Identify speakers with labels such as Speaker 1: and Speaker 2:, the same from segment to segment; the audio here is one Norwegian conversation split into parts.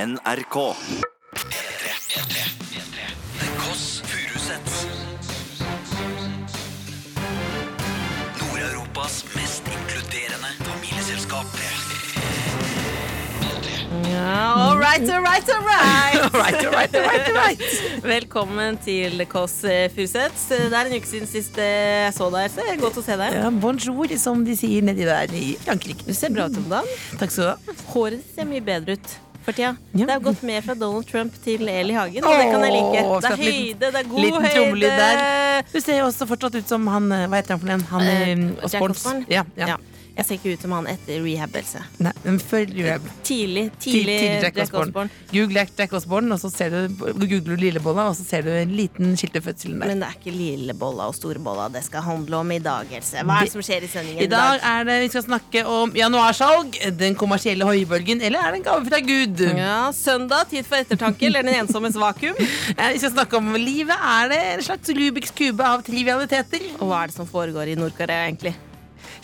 Speaker 1: NRK. The Kåss Furuseths. Nord-Europas mest inkluderende familieselskap.
Speaker 2: Ja, all right, all right, all right.
Speaker 3: Right, right, right, right.
Speaker 2: Velkommen til Kåss Furuseths. Det er en uke siden sist eh, jeg så deg, Else. Godt å se deg.
Speaker 3: Ja, bonjour, som de sier nedi der i Frankrike.
Speaker 2: Du ser bra ut om dagen.
Speaker 3: Takk skal du ha.
Speaker 2: Håret ditt ser mye bedre ut for tida.
Speaker 3: Ja.
Speaker 2: Det er gått med fra Donald Trump til Eli Hagen, og det kan jeg like.
Speaker 3: Åh,
Speaker 2: Det
Speaker 3: skal
Speaker 2: er
Speaker 3: jeg ha en
Speaker 2: høyde, det er god
Speaker 3: liten trommelyd
Speaker 2: høyde.
Speaker 3: der. Du ser jo også fortsatt ut som han eh, Hva heter han for en? Han
Speaker 2: Eh,
Speaker 3: eh,
Speaker 2: Jack Osborne?
Speaker 3: Ja, ja.
Speaker 2: Ja. Jeg ser ikke ut som han etter rehabelse.
Speaker 3: Nei, men før Rehab.
Speaker 2: Tidlig,
Speaker 3: Til,
Speaker 2: tidlig,
Speaker 3: til Jack
Speaker 2: Jack
Speaker 3: Osborne.
Speaker 2: Osborne.
Speaker 3: Google Jack Osborne, og så ser du, googler du lillebolla, og så ser du en liten skiltefødselen der.
Speaker 2: Men det er ikke lillebolla og storbolla det skal handle om i dag, Else. Hva er det som skjer i sendingen
Speaker 3: I dag er det vi skal snakke om januarsalg, den kommersielle høybølgen, eller er det en gave fra Gud?
Speaker 2: Ja, søndag, tid for ettertanke eller den ensommes vakuum.
Speaker 3: Eh, Vi skal snakke om livet. Er det en slags Rubiks kube av trivialiteter?
Speaker 2: Og hva er det som foregår i Nord-Korea, egentlig?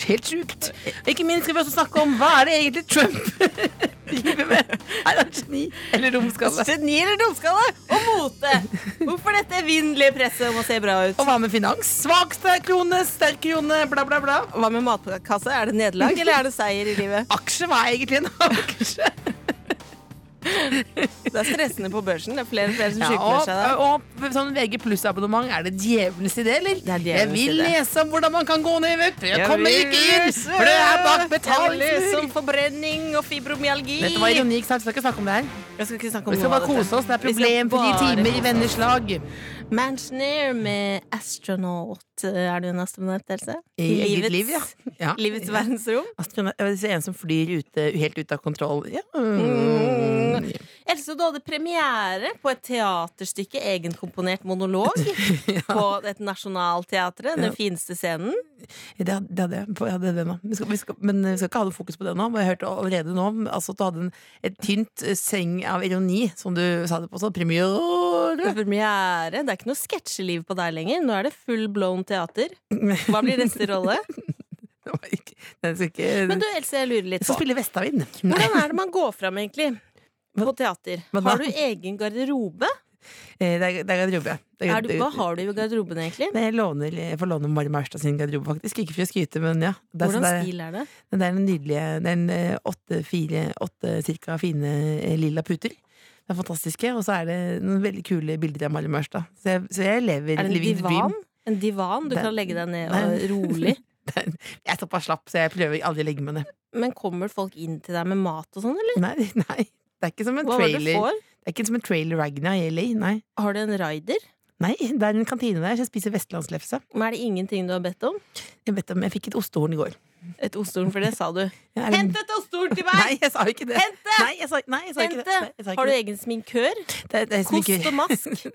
Speaker 3: Helt sjukt. Ikke minst skal vi også snakke om hva er det egentlig Trump driver med. Er han geni eller romskalle?
Speaker 2: Geni eller dumskalle? Og mote! Hvorfor dette evinnelige presset om å se bra ut?
Speaker 3: Og hva med finans? Svak sterk krone, sterk krone, bla, bla, bla.
Speaker 2: Hva med matkasse? Er det nederlag, eller er det seier i livet?
Speaker 3: Aksje, hva er egentlig en aksje?
Speaker 2: Det er stressende på børsen. Det er flere og flere som
Speaker 3: Ja,
Speaker 2: sykemelder
Speaker 3: og,
Speaker 2: seg da.
Speaker 3: og sånn VG pluss-abonnement, er det djevelens idé, eller?
Speaker 2: Det er djevelens
Speaker 3: jeg vil
Speaker 2: idé.
Speaker 3: lese om hvordan man kan gå ned i vekt. Jeg kommer ikke inn, for det er bak betaling.
Speaker 2: Som forbrenning og fibromyalgi.
Speaker 3: Dette var ironi, ikke sant? Vi skal ikke snakke om det her.
Speaker 2: Jeg skal ikke snakke
Speaker 3: Vi
Speaker 2: om
Speaker 3: skal
Speaker 2: noe
Speaker 3: bare
Speaker 2: av dette.
Speaker 3: kose oss. Det er
Speaker 2: Vi skal
Speaker 3: problemfrie
Speaker 2: bare
Speaker 3: timer
Speaker 2: kose
Speaker 3: i
Speaker 2: oss.
Speaker 3: venners lag.
Speaker 2: Manchner med astronaut. Er du en astronaut, Else?
Speaker 3: I eget liv, ja. ja.
Speaker 2: Livets verdensrom.
Speaker 3: Astronaut Jeg vil se en som flyr ute, helt ut av kontroll. Ja.
Speaker 2: Mm.
Speaker 3: Mm.
Speaker 2: Else, du hadde premiere på et teaterstykke, egenkomponert monolog, på et nasjonalteatret, den
Speaker 3: Ja.
Speaker 2: fineste scenen.
Speaker 3: Det, hadde, det hadde jeg. jeg hadde det nå. Vi skal, vi skal, men vi skal ikke ha noe fokus på det nå. Men jeg hørte allerede nå om, altså, at du hadde en, et tynt eh, seng av ironi, som du sa det på. Så
Speaker 2: Det
Speaker 3: premiere
Speaker 2: er premiere. Det er ikke noe sketsjeliv på deg lenger. Nå er det full blown teater. Hva blir neste rolle?
Speaker 3: Det var ikke- Den skal ikke
Speaker 2: Men du, Else, jeg lurer litt
Speaker 3: Jeg skal
Speaker 2: på.
Speaker 3: spille Vestavind.
Speaker 2: Hvordan er det man går fram, egentlig? På teater.
Speaker 3: Hva da?
Speaker 2: Har du egen garderobe?
Speaker 3: Eh, Det er det er garderobe. Det
Speaker 2: Er du, hva
Speaker 3: garderobe.
Speaker 2: har du i garderoben, egentlig?
Speaker 3: Nei, Jeg, låner, jeg får låne Mari Maurstad sin garderobe, faktisk. Ikke for å skryte, men ja. Det er, sånn så
Speaker 2: Hvordan
Speaker 3: det er-
Speaker 2: stil er det?
Speaker 3: Det er den nydelige Den eh, åtte, fire, åtte cirka fine eh, lilla puter. Det er fantastiske, og så er det noen veldig kule bilder av Mari Mørstad. Så jeg, så jeg lever
Speaker 2: Er det en
Speaker 3: living the
Speaker 2: divan?
Speaker 3: dream.
Speaker 2: En divan du
Speaker 3: Det-
Speaker 2: kan legge deg ned og
Speaker 3: Nei.
Speaker 2: rolig?
Speaker 3: Jeg er såpass slapp, så jeg prøver aldri å legge meg ned.
Speaker 2: Men kommer folk inn til deg med mat og sånn, eller?
Speaker 3: Nei, nei. Det er ikke som en
Speaker 2: Hva var det du
Speaker 3: trailer
Speaker 2: får?
Speaker 3: Det er ikke som en trailer Ragna i LA. Nei.
Speaker 2: Har du en raider?
Speaker 3: nei, det er en kantine der, så jeg spiser vestlandslefse.
Speaker 2: Men er det ingenting du har bedt om?
Speaker 3: Jeg, vet om, jeg fikk et ostehorn i går.
Speaker 2: Et ostehorn, for det sa du.
Speaker 3: Ja, er det-
Speaker 2: Hent et ostehorn til
Speaker 3: Nei,
Speaker 2: meg!
Speaker 3: jeg sa ikke det!
Speaker 2: Hent det!
Speaker 3: Nei, jeg sa, nei, jeg sa
Speaker 2: Hent
Speaker 3: ikke det.
Speaker 2: det!
Speaker 3: Nei, jeg sa ikke
Speaker 2: Har du
Speaker 3: det.
Speaker 2: egen sminkør?
Speaker 3: Det er- det er som
Speaker 2: Kost
Speaker 3: ikke-
Speaker 2: og mask?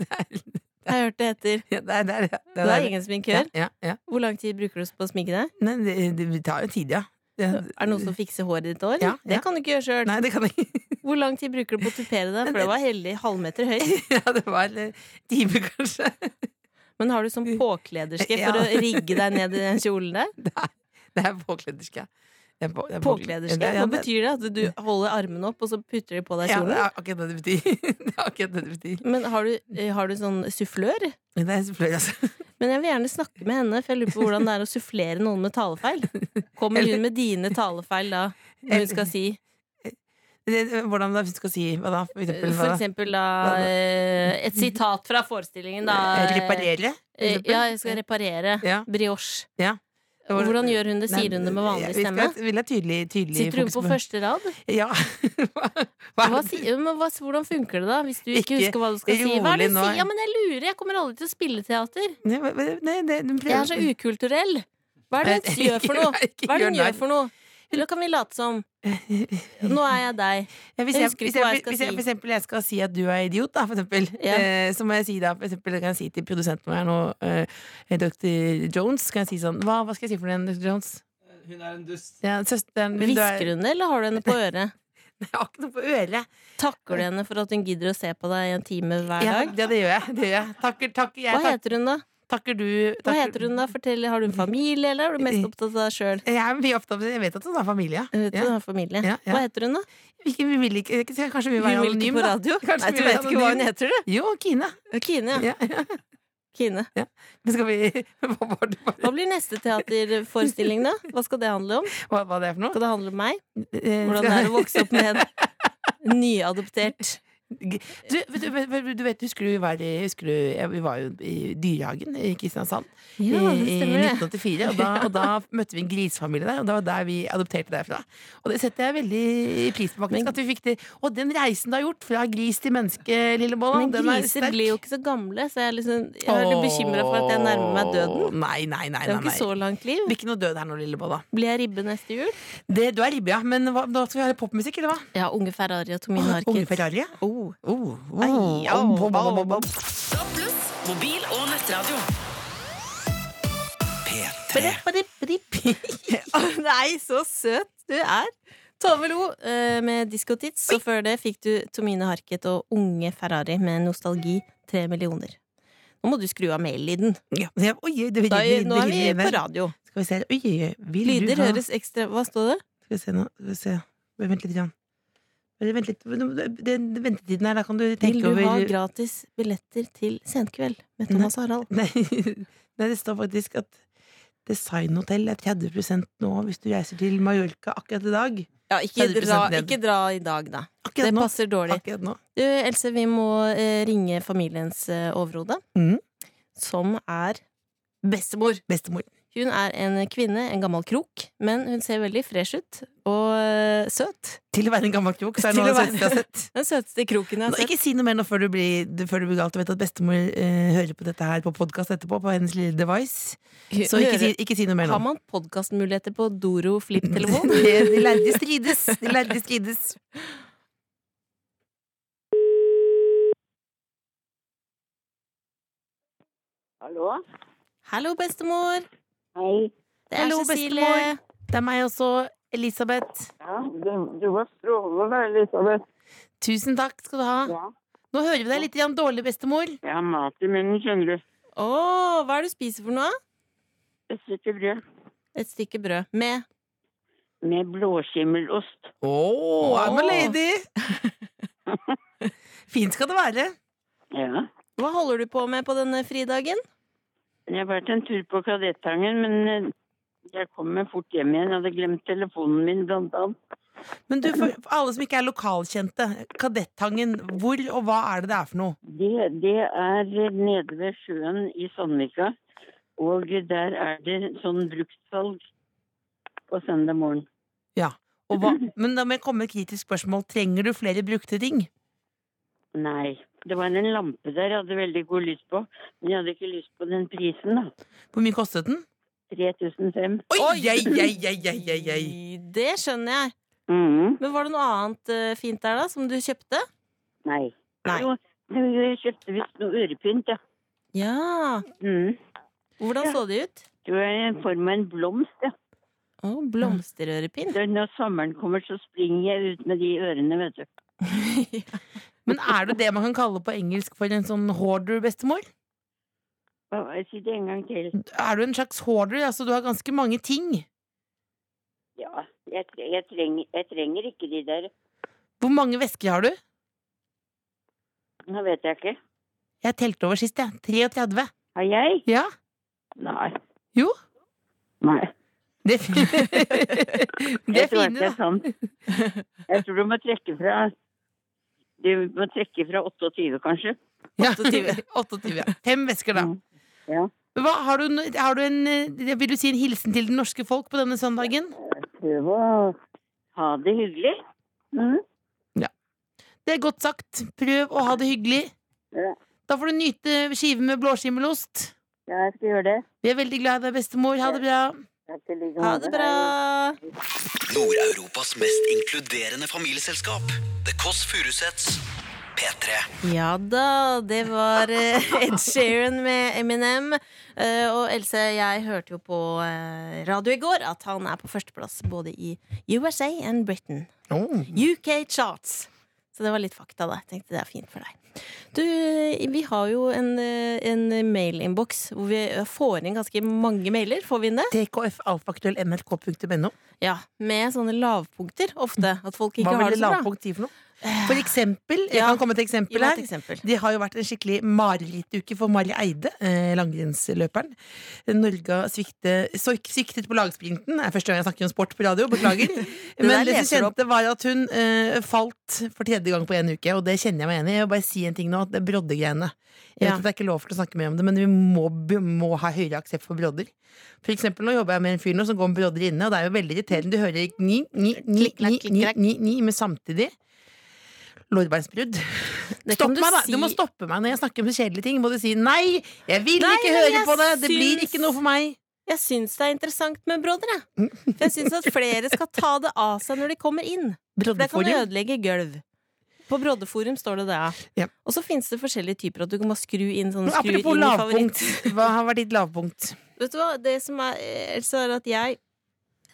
Speaker 3: Det er-
Speaker 2: Jeg har hørt det heter.
Speaker 3: ja, det er- det er- det er-
Speaker 2: Du har egen sminkør.
Speaker 3: Ja, ja, ja.
Speaker 2: Hvor lang tid bruker du på å sminke deg?
Speaker 3: Nei, det, det tar jo tid, ja. Det,
Speaker 2: Er det noen som fikser håret ditt òg?
Speaker 3: Ja,
Speaker 2: eller? Det
Speaker 3: ja.
Speaker 2: kan du ikke gjøre sjøl.
Speaker 3: Nei, det kan jeg ikke.
Speaker 2: Hvor lang tid bruker du på å tupere deg? For det var heldig halvmeter høyt.
Speaker 3: Ja, det var en eh, time, kanskje.
Speaker 2: Men har du sånn påklederske
Speaker 3: Ja.
Speaker 2: for å rigge deg ned i den kjolen der?
Speaker 3: Det er, det er påklederske. Det er på- det er
Speaker 2: Påklederske?
Speaker 3: Ja,
Speaker 2: Hva
Speaker 3: det-
Speaker 2: betyr det? At du holder armene opp, og så putter de på deg
Speaker 3: Ja,
Speaker 2: kjolen?
Speaker 3: det er akkurat det det betyr. Det er akkurat det det betyr.
Speaker 2: Men har du, eh, har du sånn sufflør?
Speaker 3: Det er fløy, altså.
Speaker 2: Men jeg vil gjerne snakke med henne, for jeg lurer på hvordan det er å sufflere noen med talefeil. Kommer hun med dine talefeil da, når hun skal si
Speaker 3: Det- Hvordan da, hvis du skal si hva da? For eksempel,
Speaker 2: For
Speaker 3: hva da?
Speaker 2: eksempel da eh, et sitat fra forestillingen, da.
Speaker 3: Eh, Reparere? for
Speaker 2: Eh,
Speaker 3: eksempel?
Speaker 2: Ja, jeg skal reparere.
Speaker 3: Ja.
Speaker 2: Brioche.
Speaker 3: Ja.
Speaker 2: Hvordan gjør hun det?
Speaker 3: Nei,
Speaker 2: Sier hun det med vanlig
Speaker 3: vi
Speaker 2: stemme?
Speaker 3: Skal, vil ha tydelig, tydelig
Speaker 2: Sitter hun
Speaker 3: fokus
Speaker 2: på første rad?
Speaker 3: Ja. Hva, hva
Speaker 2: Hva
Speaker 3: er det?
Speaker 2: sier, men hva, hvordan funker det da, hvis du ikke
Speaker 3: Ikke
Speaker 2: husker hva du skal si? Hva er det
Speaker 3: rolig
Speaker 2: hun
Speaker 3: nå.
Speaker 2: sier? Ja, men jeg lurer, jeg kommer aldri til å spille teater.
Speaker 3: Nei, hva- hva- nei, det- hun
Speaker 2: Jeg er så
Speaker 3: prøver-
Speaker 2: ukulturell. Hva er det
Speaker 3: Eh,
Speaker 2: hun gjør for noe?
Speaker 3: Ikke
Speaker 2: Hva er det hun
Speaker 3: gjør
Speaker 2: gjør for noe? Eller kan vi late som? Nå er jeg deg.
Speaker 3: Ja, hvis,
Speaker 2: Jeg
Speaker 3: jeg,
Speaker 2: husker
Speaker 3: hvis,
Speaker 2: ikke hva
Speaker 3: jeg,
Speaker 2: jeg skal
Speaker 3: hvis jeg
Speaker 2: si.
Speaker 3: for eksempel jeg skal si at du er idiot, da, for eksempel,
Speaker 2: Ja.
Speaker 3: eh, så må jeg si da, for eksempel, kan jeg si til produsenten vår nå, eh, dr. Jones, kan jeg si sånn Hva, hva skal jeg si for den, dr. Jones?
Speaker 4: Eh, Hun er en dust.
Speaker 3: Ja, søsteren min, du er-
Speaker 2: Hvisker hun det, eller har du henne på øret?
Speaker 3: Jeg har ikke noe på øret.
Speaker 2: Takker du henne for at hun gidder å se på deg i en time hver
Speaker 3: Ja,
Speaker 2: dag?
Speaker 3: ja, det gjør jeg. Det gjør jeg. Takker, takker jeg.
Speaker 2: Hva
Speaker 3: takker-
Speaker 2: heter hun, da?
Speaker 3: Takker du
Speaker 2: Hva
Speaker 3: takker-
Speaker 2: heter hun da? Fortell, har du en familie, eller er du mest opptatt av deg sjøl?
Speaker 3: Jeg er mye opptatt av Jeg vet at hun har familie. Ja. Ja, ja.
Speaker 2: Hva heter hun, da?
Speaker 3: Ikke, vi vil ikke, kanskje vi vil
Speaker 2: Hun
Speaker 3: være
Speaker 2: vil ikke
Speaker 3: anonyme,
Speaker 2: på
Speaker 3: da.
Speaker 2: radio?
Speaker 3: Kanskje
Speaker 2: Nei, du
Speaker 3: vi vil
Speaker 2: vet
Speaker 3: være
Speaker 2: ikke hva hun
Speaker 3: anonym.
Speaker 2: heter, du?
Speaker 3: Jo, Kine.
Speaker 2: Kine, ja.
Speaker 3: Ja, ja.
Speaker 2: Kine.
Speaker 3: Men Skal vi Hva var det
Speaker 2: Hva blir neste teaterforestilling, da? Hva skal det handle om?
Speaker 3: hva, hva det er for noe?
Speaker 2: Skal det handle om meg?
Speaker 3: Eh,
Speaker 2: Hvordan det
Speaker 3: skal-
Speaker 2: er å vokse opp med en nyadoptert
Speaker 3: G- Du, vet du, vet- vet- du vet, husker du vi var, i- husker du, ja, vi var jo i Dyrehagen i Kristiansand i, i 1984. Og da, og da møtte vi en grisefamilie der, og det var der vi adopterte derfra. Og det setter jeg veldig pris på. faktisk,
Speaker 2: Men-
Speaker 3: at vi fikk det. Og den reisen du har gjort, fra gris til menneske, Lillebolla,
Speaker 2: Men
Speaker 3: den er
Speaker 2: griser
Speaker 3: sterk.
Speaker 2: blir jo ikke så gamle, så jeg er, liksom, jeg er litt bekymra for at jeg nærmer meg døden.
Speaker 3: Åh, Nei, nei, nei.
Speaker 2: Det er
Speaker 3: nei,
Speaker 2: jo
Speaker 3: nei.
Speaker 2: ikke så langt
Speaker 3: Det
Speaker 2: liv.
Speaker 3: blir ikke noe død her nå, Lillebolla.
Speaker 2: Blir jeg ribbe neste jul?
Speaker 3: Det, du er ribbe, ja. Men hva, da skal vi høre popmusikk, eller hva?
Speaker 2: Ja, unge Ferrari og Tomine
Speaker 3: Åh, Unge
Speaker 2: Harket.
Speaker 3: Ferrari? ja.
Speaker 2: Oh.
Speaker 3: Oh, oh,
Speaker 2: Ai,
Speaker 3: oh,
Speaker 2: au,
Speaker 3: bom, bom, bom, bom.
Speaker 4: Mobil og nettradio.
Speaker 1: P3
Speaker 2: Brip-brip-brip. Nei, så søt du er! Tove Lo eh, med Diskotits, og før det fikk du Tomine Harket og Unge Ferrari med Nostalgi tre millioner. Nå må du skru av mail-lyden.
Speaker 3: Ja. Ja, Oi, det vil,
Speaker 2: Da-
Speaker 3: vil-
Speaker 2: Nå er
Speaker 3: vil-
Speaker 2: vi
Speaker 3: vil-
Speaker 2: på radio.
Speaker 3: Skal vi se. Oi, oi, oi. Vil du
Speaker 2: Lyder
Speaker 3: ha-
Speaker 2: høres ekstra Hva står det?
Speaker 3: Skal vi se nå. Skal vi se. Vent litt. Jan. Bare Vent litt. Den ventetiden her, da kan du
Speaker 2: Vil
Speaker 3: tenke
Speaker 2: du
Speaker 3: over
Speaker 2: ha gratis billetter til Senkveld med Thomas Harald?
Speaker 3: Nei, nei, det står faktisk at designhotell er 30 nå hvis du reiser til Mallorca akkurat i dag.
Speaker 2: Ja, ikke
Speaker 3: 30%
Speaker 2: dra,
Speaker 3: ned.
Speaker 2: ikke dra i dag, da.
Speaker 3: Akkurat
Speaker 2: Det
Speaker 3: nå. Ah.
Speaker 2: passer dårlig.
Speaker 3: Akkurat nå.
Speaker 2: Du, Else, vi må eh, ringe familiens eh, overhode,
Speaker 3: Mhm.
Speaker 2: som er bestemor.
Speaker 3: Bestemor.
Speaker 2: Hun er en kvinne, en gammel krok, men hun ser veldig fresh ut og eh, søt.
Speaker 3: Til å være en gammel krok, så er det
Speaker 2: Til
Speaker 3: noe
Speaker 2: å
Speaker 3: av det søteste jeg har sett.
Speaker 2: Den søteste kroken jeg
Speaker 3: Nå,
Speaker 2: har sett.
Speaker 3: ikke si noe mer nå før du blir, før du blir galt. Jeg vet at bestemor eh, hører på dette her på podkast etterpå, på hennes lille device. Så ikke si, ikke si noe mer
Speaker 2: Har
Speaker 3: nå.
Speaker 2: man podkastmuligheter på Doro Flip-telefon?
Speaker 3: De de lærde strides. De lærde strides.
Speaker 4: Hallo?
Speaker 2: Hallo, bestemor!
Speaker 4: Hei.
Speaker 2: Det er
Speaker 3: Hallo,
Speaker 2: Cecilie.
Speaker 3: bestemor. Det er meg også, Elisabeth.
Speaker 4: Ja, du, du var strålende, Elisabeth.
Speaker 3: Tusen takk skal du ha.
Speaker 4: Ja.
Speaker 3: Nå hører vi deg litt grann dårlig, bestemor.
Speaker 4: Jeg har mat i munnen, skjønner du.
Speaker 2: Å, hva er det du spiser for noe?
Speaker 4: Et stykke brød
Speaker 2: Et stykke brød. Med
Speaker 4: med blåskimmelost.
Speaker 3: Å, I'm a lady! Fint skal det være.
Speaker 4: Ja.
Speaker 2: Hva holder du på med på denne fridagen?
Speaker 4: Jeg har vært en tur på Kadettangen, men eh, jeg kommer fort hjem igjen. Jeg hadde glemt telefonen min, blant annet.
Speaker 3: Men du, for for alle som ikke er lokalkjente, Kadettangen, hvor og hva er det det er for noe?
Speaker 4: Det, det er eh, nede ved sjøen i Sandvika, og der er det sånn bruktsalg på søndag morgen.
Speaker 3: Og hva, men da må jeg komme med et kritisk spørsmål. Trenger du flere brukte ting?
Speaker 4: Nei. Det var en lampe der jeg hadde veldig god lyst på, men jeg hadde ikke lyst på den prisen, da.
Speaker 3: Hvor mye kostet den?
Speaker 4: 3005.
Speaker 3: Oi, ei, ei, ei, ei, ei, ei.
Speaker 2: Det skjønner jeg.
Speaker 4: Mhm.
Speaker 2: Men var det noe annet eh, fint der, da, som du kjøpte?
Speaker 4: Nei.
Speaker 2: Nei.
Speaker 4: Jo, jo, jo, jeg kjøpte visst noe ørepynt, ja.
Speaker 2: Ja.
Speaker 3: Mm.
Speaker 4: Mhm.
Speaker 2: Hvordan så det ut?
Speaker 4: Det var i form av en blomst, ja.
Speaker 2: Å, blomsterørepinn.
Speaker 4: Det er Når sommeren kommer, så springer jeg ut med de ørene, vet du.
Speaker 3: Men er du det man kan kalle på engelsk for en sånn hoarder, bestemor?
Speaker 4: Hva var det? Si det en gang til.
Speaker 3: Er du en slags hoarder? Altså, du har ganske mange ting.
Speaker 4: Ja, jeg, tre- jeg, trenger, jeg trenger ikke de der.
Speaker 3: Hvor mange vesker har du?
Speaker 4: Nå vet jeg ikke.
Speaker 3: Jeg telte over sist, jeg. 33.
Speaker 4: Har jeg?
Speaker 3: Ja.
Speaker 4: Nei.
Speaker 3: Jo.
Speaker 4: Nei.
Speaker 3: Det er, fi- det
Speaker 4: Jeg
Speaker 3: er
Speaker 4: tror ikke
Speaker 3: fine,
Speaker 4: det
Speaker 3: da.
Speaker 4: er sant. Jeg tror du må trekke fra Du må trekke fra 28, kanskje.
Speaker 3: Ja.
Speaker 2: 28.
Speaker 3: 28, ja. Fem vesker, da.
Speaker 4: Mm. Ja.
Speaker 3: Men Hva, har, du, no- har du en eh, Vil du si en hilsen til det norske folk på denne søndagen?
Speaker 4: Prøv å ha det hyggelig. Mm.
Speaker 3: Det er godt sagt. Prøv å ha det hyggelig.
Speaker 4: Ja.
Speaker 3: Da får du nyte skiven med blåskimmelost.
Speaker 4: Ja, jeg skal gjøre det.
Speaker 3: Vi er veldig glad i deg, bestemor. Ha det bra.
Speaker 4: Takk i like
Speaker 2: Ha det bra!
Speaker 1: Nord-Europas mest inkluderende familieselskap The Koss Furusets P3
Speaker 2: Ja da, det var eh, Ed Sheeran med Eminem. Eh, Og Else, jeg hørte jo på eh, radio i går at han er på førsteplass både i USA and Britain. UK charts. Så det var litt fakta, da. Jeg tenkte det er fint for deg. Du, vi har jo en, eh, en mailinnboks hvor vi eh, får inn ganske mange mailer. Får vi inn det?
Speaker 3: tkfalfaktuellnrk.no.
Speaker 2: Ja, Med sånne lavpunkter ofte. At folk ikke
Speaker 3: Hva
Speaker 2: har
Speaker 3: ville
Speaker 2: det så bra.
Speaker 3: lavpunkt si for noe? For eksempel, jeg
Speaker 2: Ja.
Speaker 3: kan komme til
Speaker 2: Gi
Speaker 3: eksempel
Speaker 2: meg et
Speaker 3: her.
Speaker 2: eksempel.
Speaker 3: Det har jo vært en skikkelig marerittuke for Mari Eide, eh, langrennsløperen. Norge har sviktet, så- sviktet på lagsprinten. Det er første gang jeg snakker om sport på radio, beklager. Men
Speaker 2: der
Speaker 3: det
Speaker 2: leser
Speaker 3: som
Speaker 2: du
Speaker 3: kjente, var at hun eh, falt for tredje gang på en uke, og det kjenner jeg meg igjen i. Jeg vil bare si en ting nå, at det er broddegreiene. Jeg vet
Speaker 2: Ja.
Speaker 3: at det er ikke lov til å snakke mer om det, men vi må, vi må ha høyere aksept for brodder. For eksempel, nå jobber jeg med en fyr nå som går med brodder inne, og det er jo veldig irriterende. Du hører ni, ni, ni,
Speaker 2: Klikk,
Speaker 3: ni,
Speaker 2: klakk, klikk,
Speaker 3: ni,
Speaker 2: klakk.
Speaker 3: ni, ni, men samtidig Lårbeinsbrudd.
Speaker 2: Det kan
Speaker 3: Stopp
Speaker 2: du
Speaker 3: meg, da!
Speaker 2: si.
Speaker 3: Du må stoppe meg når jeg snakker om kjedelige ting. Må du si 'nei, jeg vil
Speaker 2: Nei,
Speaker 3: ikke
Speaker 2: men
Speaker 3: høre
Speaker 2: jeg
Speaker 3: på det', det blir
Speaker 2: syns-
Speaker 3: ikke noe for meg.
Speaker 2: Jeg syns det er interessant med brodder, jeg. For jeg syns at flere skal ta det av seg når de kommer inn. For det kan
Speaker 3: Broddeforum.
Speaker 2: ødelegge gulv. På Broddeforum står det det,
Speaker 3: Ja.
Speaker 2: Og så fins det forskjellige typer, at du kan bare skru inn sånn
Speaker 3: Men
Speaker 2: skru inn i
Speaker 3: Apropos
Speaker 2: favoritt.
Speaker 3: lavpunkt. Hva har vært ditt lavpunkt?
Speaker 2: Vet du hva, det som er, altså er at jeg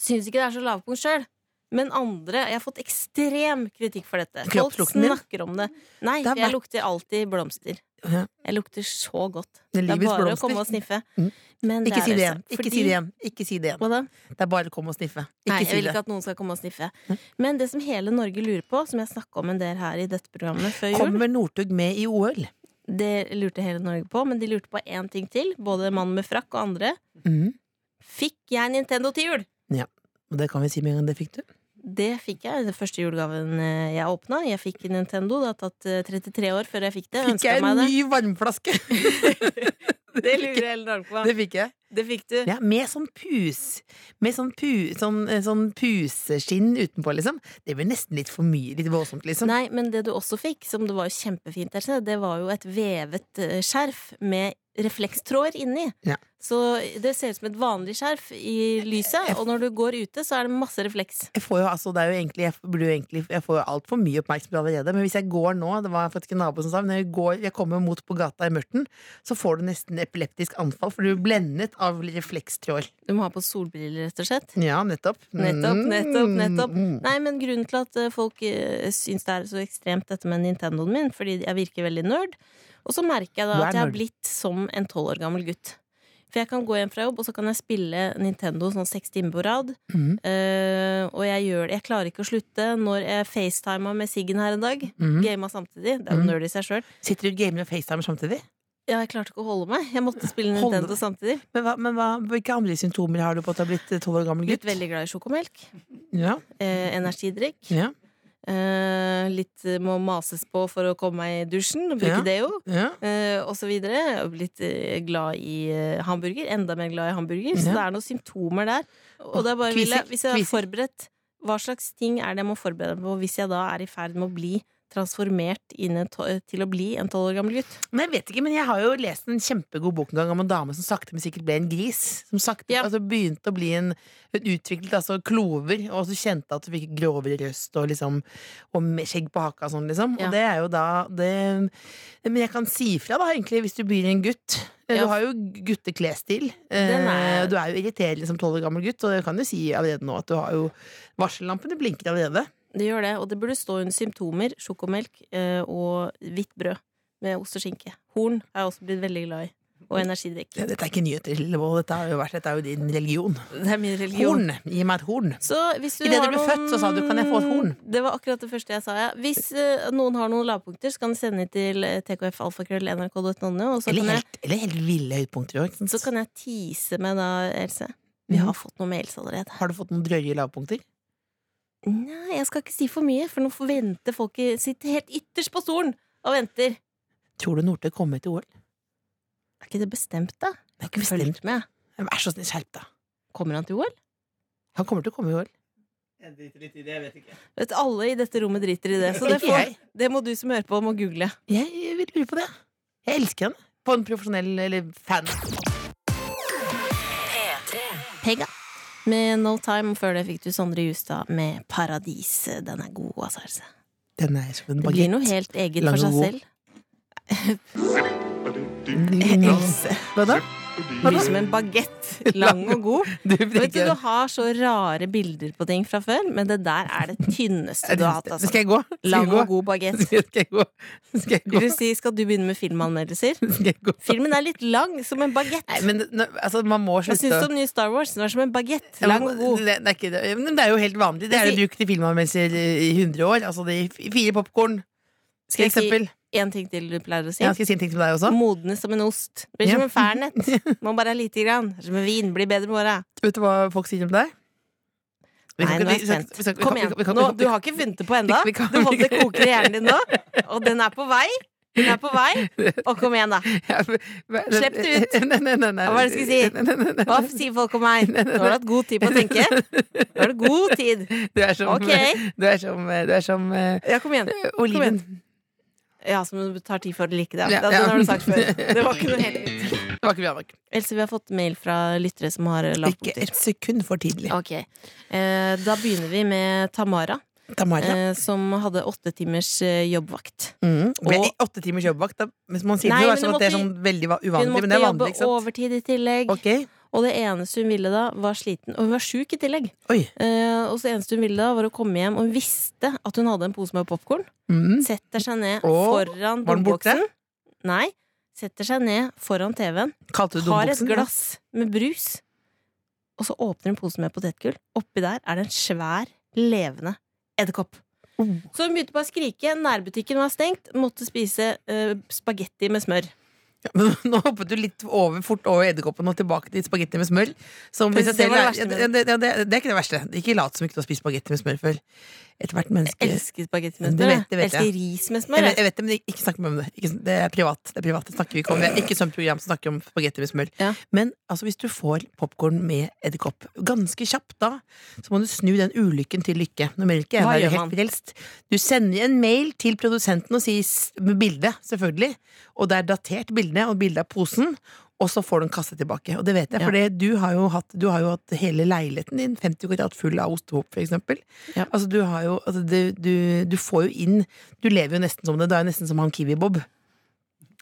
Speaker 2: syns ikke det er så lavpunkt sjøl. Men andre Jeg har fått ekstrem kritikk for dette. Folk
Speaker 3: Kroppslukten din?
Speaker 2: snakker om det. Nei,
Speaker 3: Det har
Speaker 2: jeg
Speaker 3: vært-
Speaker 2: lukter alltid blomster.
Speaker 3: Ja.
Speaker 2: Jeg lukter så godt.
Speaker 3: Det er
Speaker 2: Det er
Speaker 3: livets
Speaker 2: bare å
Speaker 3: blomster.
Speaker 2: komme og sniffe.
Speaker 3: Mm.
Speaker 2: Men
Speaker 3: Ikke
Speaker 2: det er
Speaker 3: si det
Speaker 2: altså-
Speaker 3: igjen. Ikke
Speaker 2: fordi-
Speaker 3: si det igjen. Ikke si det igjen.
Speaker 2: Hva da?
Speaker 3: Det er bare å komme og sniffe.
Speaker 2: Nei,
Speaker 3: Ikke
Speaker 2: jeg
Speaker 3: si
Speaker 2: vil
Speaker 3: det. Mm.
Speaker 2: ikke at noen skal komme og sniffe. Men det som hele Norge lurer på, som jeg snakka om en del her i dette programmet før jul
Speaker 3: Kommer Northug med i OL?
Speaker 2: Det lurte hele Norge på, men de lurte på én ting til. Både mannen med frakk og andre.
Speaker 3: Mm.
Speaker 2: Fikk jeg Nintendo til jul?
Speaker 3: Og det kan vi si med en gang det fikk du.
Speaker 2: Det fikk jeg. Den første julegaven eh, jeg åpna. Jeg fikk Nintendo. Det har tatt eh, 33 år før jeg fikk det.
Speaker 3: Fikk
Speaker 2: Ønsket
Speaker 3: jeg en
Speaker 2: meg det.
Speaker 3: ny varmflaske?
Speaker 2: Det lurer hele Norge på.
Speaker 3: Det fikk jeg.
Speaker 2: Det fikk du.
Speaker 3: Ja, med sånn pus Med sånn, pu, sånn, eh, sånn puseskinn utenpå, liksom. Det blir nesten litt for mye. Litt voldsomt, liksom.
Speaker 2: Nei, men det du også fikk, som det var jo kjempefint der, se, det var jo et vevet eh, skjerf med reflekstråder inni.
Speaker 3: Ja.
Speaker 2: Så det ser ut som et vanlig skjerf i lyset, og når du går ute, så er det masse refleks.
Speaker 3: Jeg får jo, altså, det er jo egentlig, jeg burde jo egentlig Jeg får jo altfor mye oppmerksomhet allerede. Men hvis jeg går nå Det var faktisk en nabo som sa Når jeg, går, jeg kommer mot på gata i mørten, så får du nesten epileptisk anfall, for du blir blendet av reflekstråd.
Speaker 2: Du må ha på solbriller, rett og slett.
Speaker 3: Ja, nettopp.
Speaker 2: Nettopp, nettopp, nettopp.
Speaker 3: Mm.
Speaker 2: Nei, men grunnen til at eh, folk eh, syns det er så ekstremt dette med Nintendoen min, fordi jeg virker veldig nerd, og så merker jeg da
Speaker 3: Du er
Speaker 2: at jeg har
Speaker 3: nerd.
Speaker 2: blitt som en tolv år gammel gutt. For jeg kan gå hjem fra jobb, og så kan jeg spille Nintendo sånn seks timer på rad.
Speaker 3: Mm.
Speaker 2: Eh, og jeg gjør det. Jeg klarer ikke å slutte når jeg facetima med Siggen her en dag.
Speaker 3: Mm.
Speaker 2: Gama samtidig. Det er jo
Speaker 3: Mm.
Speaker 2: nerd i seg sjøl.
Speaker 3: Sitter du og gamer og facetimer samtidig?
Speaker 2: Ja, jeg klarte ikke å holde meg. Jeg måtte spille
Speaker 3: Holde
Speaker 2: Nintendo
Speaker 3: deg.
Speaker 2: samtidig.
Speaker 3: Men, hva, men hva, hvilke andre symptomer har du på at du har blitt tolv år gammel
Speaker 2: Blitt
Speaker 3: gutt?
Speaker 2: veldig glad i sjokomelk.
Speaker 3: Ja,
Speaker 2: Eh, energidrikk.
Speaker 3: ja,
Speaker 2: Eh, litt eh, må mases på for å komme meg i dusjen. og Bruke
Speaker 3: Ja.
Speaker 2: deo.
Speaker 3: ja.
Speaker 2: eh, og så videre. Jeg har blitt eh, glad i eh, hamburger. Enda mer glad i hamburger. Så
Speaker 3: Ja.
Speaker 2: det er noen symptomer der. Og det er bare
Speaker 3: Kviser,
Speaker 2: vil jeg, Hvis jeg er
Speaker 3: kviser.
Speaker 2: forberedt, hva slags ting er det jeg må forberede meg på hvis jeg da er i ferd med å bli transformert inn en to til å bli en tolv år gammel gutt?
Speaker 3: Men jeg vet ikke, men jeg har jo lest en kjempegod bok en gang om en dame som sakte, men sikkert ble en gris. Som sakte,
Speaker 2: Ja.
Speaker 3: altså begynte å bli en hun utviklet altså klover, og så kjente at hun fikk grovere røst og liksom Og med skjegg på haka og sånn, liksom.
Speaker 2: Ja.
Speaker 3: Og det er jo da det Men jeg kan si fra, da, egentlig, hvis du blir en gutt. Eh,
Speaker 2: Ja.
Speaker 3: Du har jo gutteklesstil.
Speaker 2: Den er-
Speaker 3: Eh, Du er jo irriterende som tolv år gammel gutt, og jeg kan jo si allerede nå at du har jo Varsellampene blinker allerede.
Speaker 2: Det gjør det. Og det burde stå under symptomer sjokomelk eh, og hvitt brød med ost og skinke. Horn er jeg også blitt veldig glad i. Og energidrikk.
Speaker 3: Dette er ikke nyheter, Lillevold. Dette, har jo vært- dette er jo din religion.
Speaker 2: Det er min religion.
Speaker 3: Horn! Gi meg et horn.
Speaker 2: Så hvis du
Speaker 3: I det
Speaker 2: har
Speaker 3: du ble
Speaker 2: noen...
Speaker 3: født, så sa du, «Kan jeg få et horn?»
Speaker 2: Det var akkurat det første jeg sa, ja. Hvis eh, noen har noen lavpunkter, så kan de sende det til eh, tkfalfakrøll.nrk.no, e, og så
Speaker 3: Eller
Speaker 2: kan, jeg,
Speaker 3: helt, eller helt ville høydepunkter òg.
Speaker 2: så kan jeg tease med da, Else. Vi
Speaker 3: Mm.
Speaker 2: har fått noen mails allerede.
Speaker 3: Har du fått noen drøye lavpunkter?
Speaker 2: Nei, jeg skal ikke si for mye, for nå forventer folk i- sitter helt ytterst på stolen og venter.
Speaker 3: Tror du Northug kommer til OL?
Speaker 2: Er ikke det bestemt, da?
Speaker 3: Det er ikke bestemt.
Speaker 2: Fulgt med.
Speaker 3: Vær så snill, skjerp deg.
Speaker 2: Kommer han til OL?
Speaker 3: Han kommer til å komme i OL.
Speaker 5: Jeg driter litt i det, jeg vet ikke.
Speaker 2: Vet du, Alle i dette rommet driter i det, så det,
Speaker 3: Ikke
Speaker 2: får,
Speaker 3: jeg.
Speaker 2: det må du som hører på, må google.
Speaker 3: Jeg, jeg vil lure på det. Jeg elsker henne. På en profesjonell eller fan.
Speaker 2: Pega. Med No Time, og før det fikk du Sondre Justad med Paradis. Den er god, altså. Else.
Speaker 3: Den er som en
Speaker 2: Det blir noe
Speaker 3: bagett.
Speaker 2: helt eget
Speaker 3: Lang
Speaker 2: for seg
Speaker 3: og god.
Speaker 2: selv.
Speaker 3: Else. Hva da?
Speaker 2: Det blir som en bagett. Lang og god.
Speaker 3: Du
Speaker 2: Vet du,
Speaker 3: tenker
Speaker 2: du har så rare bilder på ting fra før, men det der er det tynneste du har hatt. Altså.
Speaker 3: Skal jeg gå? Skal jeg
Speaker 2: Lang
Speaker 3: gå?
Speaker 2: og god bagett.
Speaker 3: Skal jeg gå? Skal jeg gå?
Speaker 2: Vil du si, skal du begynne med filmanmeldelser?
Speaker 3: Skal jeg gå?
Speaker 2: Filmen er litt lang, som en bagett.
Speaker 3: Nei, men nå- altså, man må
Speaker 2: Hva
Speaker 3: slutte
Speaker 2: syns du
Speaker 3: å
Speaker 2: om nye Star Wars? Den var som en bagett.
Speaker 3: Ja,
Speaker 2: Lang
Speaker 3: men
Speaker 2: og god.
Speaker 3: Det, det, er ikke det. Men det er jo helt vanlig. Det er det brukt i filmanmeldelser i 100 år. Altså de f- fire popkorn, for
Speaker 2: Skal jeg si
Speaker 3: eksempel.
Speaker 2: én ting til du pleier å si?
Speaker 3: Ja, skal jeg si en ting til deg også?
Speaker 2: Modnes som en ost. Blir som
Speaker 3: Ja.
Speaker 2: en fernet. Må bare ha lite grann. Er Som en vin. Blir bedre med åra.
Speaker 3: Vet du hva folk sier om deg? Vi
Speaker 2: Nei,
Speaker 3: skal
Speaker 2: nå er
Speaker 3: ikke-
Speaker 2: jeg
Speaker 3: vi skal-
Speaker 2: spent.
Speaker 3: vi skal- vi
Speaker 2: Kom
Speaker 3: kan-
Speaker 2: igjen.
Speaker 3: vi kan-
Speaker 2: Nå, du
Speaker 3: vi kan-
Speaker 2: har ikke funnet det på ennå.
Speaker 3: vi kan-
Speaker 2: Du holder det koker i hjernen din nå, og den er på vei. Den er på vei. Og kom igjen, da.
Speaker 3: Ja, men- men-
Speaker 2: Slipp det ut.
Speaker 3: Nei, nei, nei, nei.
Speaker 2: Hva var det jeg skulle si?
Speaker 3: Nei, nei, nei, nei.
Speaker 2: Hva sier folk om meg? Nå har du hatt god tid på å tenke. Nå har du god tid.
Speaker 3: Du er som,
Speaker 2: Ok.
Speaker 3: du er som, du er som eh,
Speaker 2: Ja, kom igjen.
Speaker 3: oliven.
Speaker 2: Ja, som det tar tid for å like det.
Speaker 3: Ja,
Speaker 2: Ja,
Speaker 3: ja.
Speaker 2: Den har du sagt før. Det var ikke noe helt nytt.
Speaker 3: Det var ikke bra nok.
Speaker 2: Else, vi har fått mail fra lyttere som har
Speaker 3: Ikke
Speaker 2: lavpunkter.
Speaker 3: et sekund for tidlig.
Speaker 2: Ok. Eh, da begynner vi med Tamara,
Speaker 3: Tamara.
Speaker 2: eh, som hadde åtte timers eh, jobbvakt.
Speaker 3: Mm. Men
Speaker 2: og-
Speaker 3: i åtte timers jobbvakt, da, hvis man sier
Speaker 2: Nei,
Speaker 3: det,
Speaker 2: men
Speaker 3: er sånn
Speaker 2: du
Speaker 3: at det er
Speaker 2: måtte-
Speaker 3: sånn veldig va-
Speaker 2: Hun
Speaker 3: uvanlig, men
Speaker 2: måtte
Speaker 3: det er vanlig,
Speaker 2: jobbe
Speaker 3: ikke sant?
Speaker 2: overtid i tillegg,
Speaker 3: Ok.
Speaker 2: og det eneste hun ville da, var sliten. Og hun var sjuk i tillegg.
Speaker 3: Oi.
Speaker 2: Eh, og så eneste hun ville da, var å komme hjem, og hun visste at hun hadde en pose med popkorn.
Speaker 3: Mm.
Speaker 2: Setter seg ned
Speaker 3: Åh,
Speaker 2: foran
Speaker 3: var den borte?
Speaker 2: domboksen. Nei. Setter seg ned foran TV-en.
Speaker 3: Kalte du
Speaker 2: Har et
Speaker 3: domboksen?
Speaker 2: glass med brus, og så åpner hun posen med potetgull. Oppi der er det en svær, levende edderkopp.
Speaker 3: Oh.
Speaker 2: Så hun begynte bare å skrike. Nærbutikken var stengt. Måtte spise uh, spagetti med smør.
Speaker 3: Ja, men Nå hoppet du litt over, fort over edderkoppen og tilbake til spagetti med smør. Som
Speaker 2: Men
Speaker 3: hvis jeg
Speaker 2: det
Speaker 3: selv
Speaker 2: var det
Speaker 3: er,
Speaker 2: verste med
Speaker 3: ja, det, ja, det, det er ikke det verste. Ikke lat som ikke du har spist spagetti med smør før. Etter hvert menneske jeg,
Speaker 2: Elsker spagetti med
Speaker 3: Det
Speaker 2: smør.
Speaker 3: vet- det vet
Speaker 2: Elsker ris med smør.
Speaker 3: vet- jeg vet det, men ikke snakk med meg om det. Ikke, sn- det er privat. Det er privat. Det snakker vi ikke om. Det er ikke sånt program som snakker om spagetti med smør.
Speaker 2: Ja.
Speaker 3: Men altså, hvis du får popkorn med edderkopp ganske kjapt da, så må du snu den ulykken til lykke. Når melk er
Speaker 2: Hva
Speaker 3: der
Speaker 2: gjør man?
Speaker 3: helt frelst. Du sender en mail til produsenten og sier s- med bilde, selvfølgelig. Og det er datert bildene og bilde av posen. Og så får du en kasse tilbake. Og det vet jeg,
Speaker 2: Ja.
Speaker 3: for det- du, har jo hatt- du har jo hatt hele leiligheten din 50 kvadrat full av ostehop, for eksempel.
Speaker 2: Ja.
Speaker 3: Altså, du, har jo, altså, du, du, du får jo inn Du lever jo nesten som det. Du er jo nesten som han Kiwi-Bob.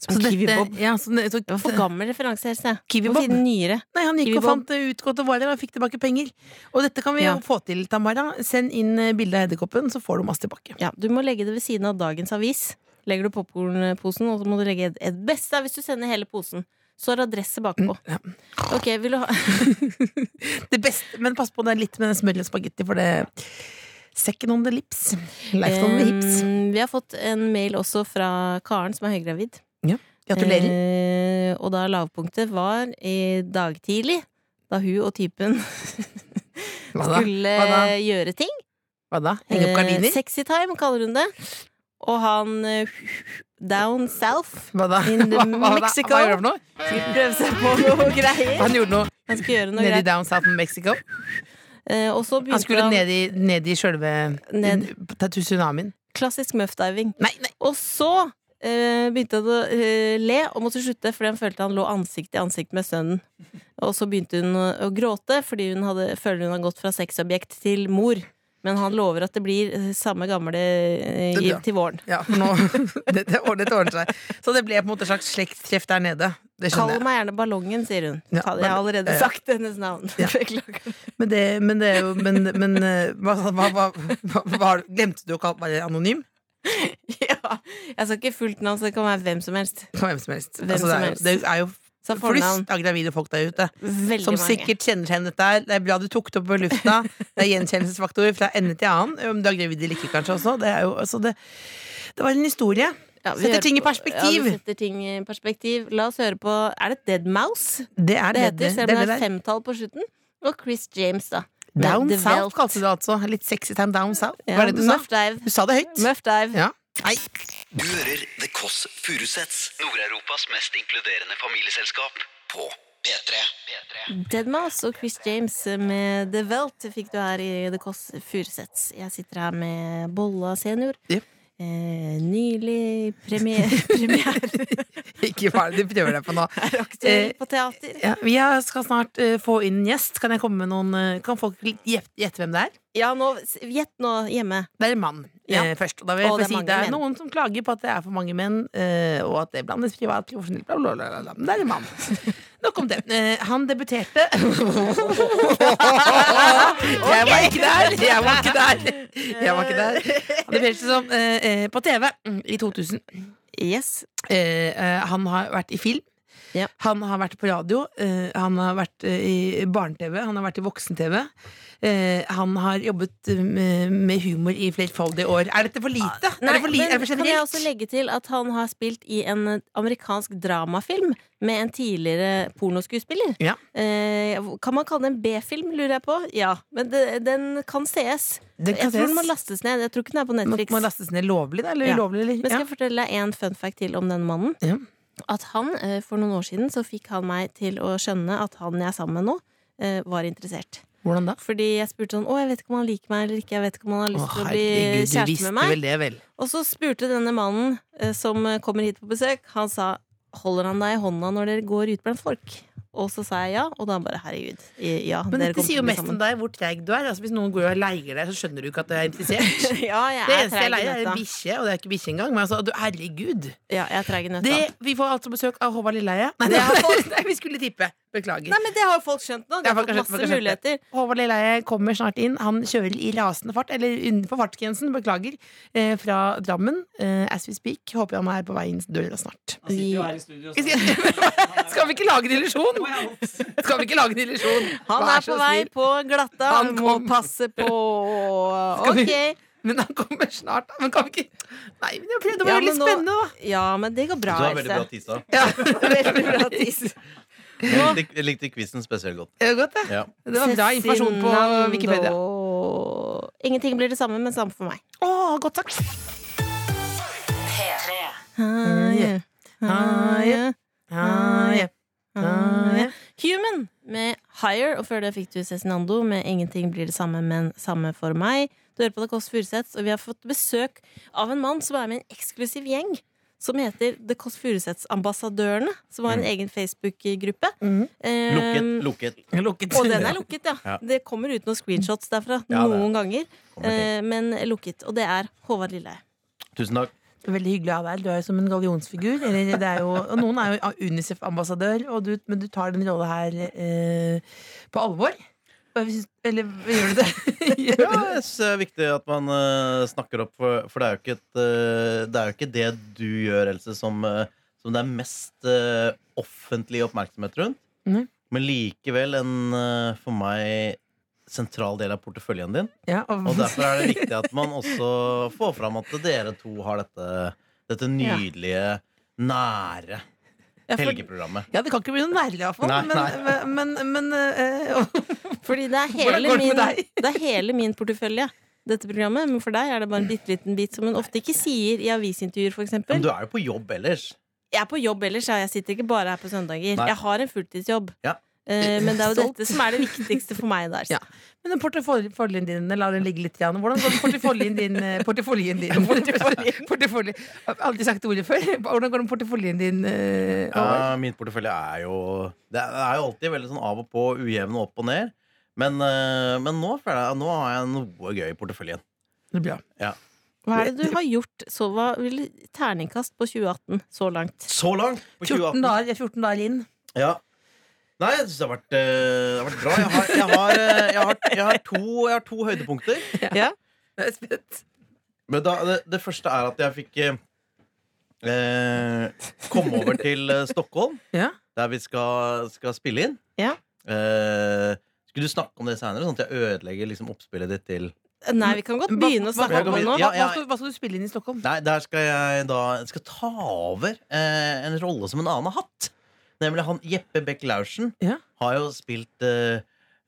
Speaker 2: Som
Speaker 3: Så dette-
Speaker 2: Kiwi-Bob.
Speaker 3: Ja, så, så,
Speaker 2: Det var for gammel referanse, Else. Må
Speaker 3: Kiwi-Bob.
Speaker 2: finne nyere.
Speaker 3: Nei, Han gikk
Speaker 2: Kiwi
Speaker 3: og
Speaker 2: Bob.
Speaker 3: fant det ut godt og var der og fikk tilbake penger. Og dette kan vi
Speaker 2: Ja.
Speaker 3: jo få til, Tamara. Send inn eh, bilde av edderkoppen, så får du masse tilbake.
Speaker 2: Ja, du må legge det ved siden av dagens avis. Legger du popkornposen, og så må du legge et, et beste er hvis du sender hele posen. Så er det adresse bakpå.
Speaker 3: Ja.
Speaker 2: Ok, vil du ha
Speaker 3: Det beste, men pass på det er litt med den smør og spagetti, for det Second on the lips. Life on the hips.
Speaker 2: Eh, Vi har fått en mail også fra Karen, som er høygravid.
Speaker 3: Gratulerer.
Speaker 2: Eh, og da lavpunktet var i dag tidlig, da hun og typen
Speaker 3: Hva da?
Speaker 2: skulle
Speaker 3: Hva da?
Speaker 2: gjøre ting.
Speaker 3: Hva da? Henge opp
Speaker 2: Eh,
Speaker 3: gardiner?
Speaker 2: Sexy time, kaller hun det. Og han eh, down south
Speaker 3: Hva da?
Speaker 2: in the
Speaker 3: Hva, hva, da?
Speaker 2: Mexico.
Speaker 3: hva gjorde han for noe?
Speaker 2: skulle prøve seg på noe greier.
Speaker 3: Han gjorde noe
Speaker 2: Han skulle gjøre noe
Speaker 3: nede i
Speaker 2: greier.
Speaker 3: down south of Mexico.
Speaker 2: Eh, og så
Speaker 3: Han
Speaker 2: begynte
Speaker 3: skulle
Speaker 2: han
Speaker 3: ned i, ned i sjølve
Speaker 2: Ned.
Speaker 3: ta- tsunamien.
Speaker 2: klassisk muffdiving.
Speaker 3: Nei, nei!
Speaker 2: Og så eh, begynte han å eh, le og måtte slutte fordi han følte han lå ansikt i ansikt med sønnen. Og så begynte hun å, å gråte fordi hun hadde, føler hun har gått fra sexobjekt til mor. Men han lover at det blir eh, samme gamle eh,
Speaker 3: Det
Speaker 2: i,
Speaker 3: blir han.
Speaker 2: til våren.
Speaker 3: Ja, for nå Dette dette ordner seg. Så det ble på en måte et slags slektstreff der nede. Det skjønner
Speaker 2: Kall
Speaker 3: jeg.
Speaker 2: meg gjerne Ballongen, sier hun.
Speaker 3: Sånn, Ja,
Speaker 2: Ta- Jeg har
Speaker 3: men- ja,
Speaker 2: allerede
Speaker 3: ja.
Speaker 2: sagt hennes navn.
Speaker 3: Ja.
Speaker 2: Beklager.
Speaker 3: Men det, men det er jo Men, men eh, hva, hva, hva, hva, hva Glemte du å kalle meg anonym?
Speaker 2: Ja. Jeg sa ikke fullt navn, så det kan være hvem som helst.
Speaker 3: Kan Hvem som helst.
Speaker 2: Hvem
Speaker 3: altså,
Speaker 2: som
Speaker 3: det, er,
Speaker 2: helst.
Speaker 3: jo- det er jo
Speaker 2: Så fornavn.
Speaker 3: flust av gravide folk der ute.
Speaker 2: Veldig
Speaker 3: Som
Speaker 2: mange.
Speaker 3: sikkert kjenner seg igjen i dette her. Det er bra du tok det opp på lufta. Det er gjenkjennelsesfaktor fra ende til annen. Om du er gravid eller ikke, kanskje også. Det, er jo, altså, det, det var en historie.
Speaker 2: Ja, vi
Speaker 3: setter
Speaker 2: hører
Speaker 3: ting i
Speaker 2: på- Ja,
Speaker 3: perspektiv.
Speaker 2: vi setter ting i perspektiv. La oss høre på Er det Dead Mouse?
Speaker 3: Det er
Speaker 2: det
Speaker 3: det
Speaker 2: heter, selv
Speaker 3: det,
Speaker 2: om det
Speaker 3: det
Speaker 2: er
Speaker 3: der.
Speaker 2: femtall på slutten. Og Chris James, da.
Speaker 3: Down
Speaker 2: The
Speaker 3: South
Speaker 2: Welt.
Speaker 3: kalte du det altså. Litt sexy time down south.
Speaker 2: Ja,
Speaker 3: Hva er det du sa?
Speaker 2: Muff Dive.
Speaker 3: Du sa det høyt.
Speaker 2: Muff Dive.
Speaker 3: Ja. Nei.
Speaker 1: Du hører The Kåss Furuseths, Nord-Europas mest inkluderende familieselskap, på P3.
Speaker 2: Dead Mouse og Chris James med The Welt fikk du her i The Kåss Furuseths. Jeg sitter her med Bolla senior.
Speaker 3: Jep.
Speaker 2: Eh, nylig premie- premiere
Speaker 3: Ikke hva er det du prøver deg på nå?
Speaker 2: Aktør på teater.
Speaker 3: Eh, Ja, jeg skal snart eh, få inn en gjest. Kan jeg komme med noen eh, Kan folk gjette gjette hvem det er?
Speaker 2: Ja, nå Gjett nå hjemme.
Speaker 3: Det er en mann
Speaker 2: Ja.
Speaker 3: eh, først. Og da vil jeg
Speaker 2: Og
Speaker 3: få
Speaker 2: det er
Speaker 3: si
Speaker 2: mange
Speaker 3: det er
Speaker 2: menn.
Speaker 3: noen som klager på at det er for mange menn, eh, og at det blandes privat, profesjonelt, bla, bla, bla, bla, bla. Men det er en mann. Nok om det. Eh, han debuterte Jeg var ikke der! Jeg var ikke der! Eh, Jeg var ikke der. Han debuterte som, eh, eh, på TV mm, i 2000.
Speaker 2: Yes.
Speaker 3: Eh, eh, han har vært i film.
Speaker 2: Ja.
Speaker 3: Han har vært på radio, eh, han har vært eh, i barne-TV, han har vært i voksen-TV. Eh, han har jobbet eh, med, med humor i flerfoldige år. Er dette for lite?
Speaker 2: Nei,
Speaker 3: er det for lite?
Speaker 2: men
Speaker 3: Er det for
Speaker 2: kan jeg også
Speaker 3: generelt?
Speaker 2: legge til at han har spilt i en eh, amerikansk dramafilm med en tidligere pornoskuespiller?
Speaker 3: Ja.
Speaker 2: Eh, kan man kalle det en B-film, lurer jeg på? Ja, men det, den kan sees.
Speaker 3: Den kan
Speaker 2: jeg tror
Speaker 3: ses.
Speaker 2: den må lastes ned. Jeg tror ikke den er på
Speaker 3: Må,
Speaker 2: Netflix.
Speaker 3: må lastes ned lovlig, da? Eller
Speaker 2: Ja.
Speaker 3: ulovlig? Eller?
Speaker 2: Men skal jeg fortelle deg en fun fact til om denne mannen?
Speaker 3: Ja.
Speaker 2: At han, eh, For noen år siden så fikk han meg til å skjønne at han jeg er sammen med nå, eh, var interessert.
Speaker 3: ja. Hvordan da?
Speaker 2: Fordi jeg spurte sånn Å, jeg vet ikke om han liker meg eller ikke. Jeg vet ikke om han har lyst
Speaker 3: Å,
Speaker 2: til å bli
Speaker 3: herregud, du
Speaker 2: kjæreste
Speaker 3: visste
Speaker 2: med meg.
Speaker 3: vel det, vel?
Speaker 2: Og så spurte denne mannen eh, som eh, kommer hit på besøk, han sa Holder han deg i hånda når dere går ut blant folk? Og så sa jeg ja, og da bare herregud. i- Ja,
Speaker 3: Men
Speaker 2: dere
Speaker 3: dette
Speaker 2: kommer til å
Speaker 3: sier jo
Speaker 2: bli
Speaker 3: mest om
Speaker 2: sammen.
Speaker 3: deg, hvor treig du er. Altså, hvis noen går og leier deg, så skjønner du ikke at du er interessert.
Speaker 2: Ja, jeg
Speaker 3: Det
Speaker 2: er
Speaker 3: eneste jeg
Speaker 2: treig i
Speaker 3: leier, er en
Speaker 2: nøtta.
Speaker 3: bikkje, og det er ikke bikkje engang. Men altså, du, herregud.
Speaker 2: Ja, jeg er treig i nøtta.
Speaker 3: Det, vi får altså besøk av Håvard Lilleheie. Nei,
Speaker 2: Det har folk-
Speaker 3: nei, vi skulle tippe. Beklager.
Speaker 2: Nei, men det har jo folk skjønt nå. De
Speaker 3: Ja,
Speaker 2: har
Speaker 3: folk
Speaker 2: fått
Speaker 3: har skjønt-
Speaker 2: masse
Speaker 3: folk har skjønt
Speaker 2: muligheter.
Speaker 3: Håvard Lilleheie kommer snart inn. Han kjører i rasende fart, eller innenfor fartsgrensen, beklager, eh, fra Drammen. Eh, as we speak. Håper han er på vei inn døra snart.
Speaker 5: Han sitter jo her i studio.
Speaker 3: Vi skal- Skal vi ikke lage en illusjon? Skal vi ikke lage en illusjon?
Speaker 2: Han
Speaker 3: Vær
Speaker 2: er på
Speaker 3: så
Speaker 2: vei
Speaker 3: snill.
Speaker 2: på glatta.
Speaker 3: Han
Speaker 2: Han må
Speaker 3: kom.
Speaker 2: passe på.
Speaker 3: Skal vi-
Speaker 2: Ok.
Speaker 3: Men han kommer snart. da. Men kan vi ikke Nei, men jeg prøvde å
Speaker 2: Ja,
Speaker 3: være
Speaker 2: men
Speaker 3: litt
Speaker 2: nå-
Speaker 3: spennende, da.
Speaker 2: Ja, men det går bra,
Speaker 6: Du har veldig
Speaker 2: Else.
Speaker 6: bra tisa.
Speaker 3: Ja.
Speaker 2: Veldig bra tiss.
Speaker 6: Jeg likte, jeg likte quizen spesielt godt.
Speaker 3: Det var godt, det.
Speaker 6: Ja.
Speaker 3: Det var bra informasjon på Wikipedia.
Speaker 2: Cezinando. Ingenting blir det samme, men samme for meg.
Speaker 3: Å, godt sagt.
Speaker 2: Ah, ja. Ah, ja. Ah, ja. Ah, ja. Human med Higher, og før det fikk du Cezinando med Ingenting blir det samme, men samme for meg. Du hører på The Kåss Furuseths, og vi har fått besøk av en mann som er med i en eksklusiv gjeng. Som heter The Kåss Furuseths-ambassadørene. Som har en egen Facebook-gruppe.
Speaker 3: Mhm.
Speaker 2: Eh,
Speaker 6: Lukket, lukket.
Speaker 3: Lukket.
Speaker 2: Og den er lukket, ja.
Speaker 6: Ja.
Speaker 2: Det kommer ut noen screenshots derfra
Speaker 6: Ja, det er-
Speaker 2: noen ganger.
Speaker 6: Kommer til.
Speaker 2: Eh, men lukket. Og det er Håvard Lilleheie.
Speaker 6: Tusen takk.
Speaker 3: Veldig hyggelig av deg. Du er jo som en gallionsfigur. Eller det er jo, og noen er jo Unicef-ambassadør, og du- men du tar din rolle her eh, på alvor. Hva syns- Eller gjør du det? Gjør du
Speaker 6: Ja,
Speaker 3: det?
Speaker 6: jeg synes det er viktig at man eh, snakker opp, for, for det, er jo ikke et, eh, det er jo ikke det du gjør, Else, som, eh, som det er mest eh, offentlig oppmerksomhet rundt.
Speaker 3: Nei.
Speaker 6: Men likevel en eh, for meg sentral del av porteføljen din.
Speaker 3: Ja, og,
Speaker 6: Og derfor er det viktig at man også får fram at dere to har dette, dette nydelige, nære
Speaker 2: Ja, for,
Speaker 6: helgeprogrammet.
Speaker 3: ja, det kan ikke bli noe nærlig, iallfall.
Speaker 6: Nei,
Speaker 3: Men,
Speaker 6: nei.
Speaker 3: men, men eh, og-
Speaker 2: fordi det er,
Speaker 3: Hvordan går
Speaker 2: hele
Speaker 3: det
Speaker 2: min,
Speaker 3: med deg?
Speaker 2: det er hele min portefølje, dette programmet. Men for deg er det bare en bitte liten bit som hun ofte ikke sier i avisintervjuer, f.eks.
Speaker 6: Men du er jo på jobb ellers.
Speaker 2: Jeg er på jobb ellers, ja. jeg sitter ikke bare her på søndager.
Speaker 6: Nei.
Speaker 2: Jeg har en fulltidsjobb.
Speaker 6: Ja.
Speaker 2: Eh, men det er jo
Speaker 3: Stolt.
Speaker 2: dette som er det viktigste for meg. Der.
Speaker 3: Ja. Men den porteføljen din, la den ligge litt. Jan. Hvordan går porteføljen din? eh, Porteføljen din Portefølje. Jeg har aldri sagt ordet før. Hvordan går den porteføljen din? eh, over?
Speaker 6: Ja, min portefølje er jo Det er- det er jo alltid veldig sånn av og på, ujevn og opp og ned. Men, eh, men nå føler jeg Nå har jeg noe gøy i porteføljen.
Speaker 3: Det er bra.
Speaker 2: Hva er det du har gjort? Så hva vil terningkast på 2018 så langt?
Speaker 6: Så langt! På
Speaker 3: 14 dager, jeg er 14 dager inn.
Speaker 6: Ja. Nei, jeg syns det, har vært, eh, det har vært bra. Jeg har, jeg har, eh, jeg har, jeg har, to, jeg har to høydepunkter.
Speaker 2: Ja.
Speaker 3: Jeg er spent.
Speaker 6: Men da, det, det første er at jeg fikk eh, eh, komme over til eh, Stockholm,
Speaker 3: Ja.
Speaker 6: der vi skal, skal spille inn.
Speaker 2: Ja.
Speaker 6: Eh, skulle du snakke om det seinere, sånn at jeg ødelegger liksom, oppspillet ditt til
Speaker 2: Nei, vi kan godt begynne å snakke
Speaker 3: hva,
Speaker 6: kan
Speaker 2: om
Speaker 6: vi-
Speaker 2: det nå.
Speaker 6: Ja,
Speaker 3: hva,
Speaker 6: ja.
Speaker 3: skal, hva skal du spille inn i Stockholm?
Speaker 6: Nei, der skal jeg da jeg skal ta over eh, en rolle som en annen har hatt. Nemlig han Jeppe Beck Laursen
Speaker 3: Ja.
Speaker 6: har jo spilt eh,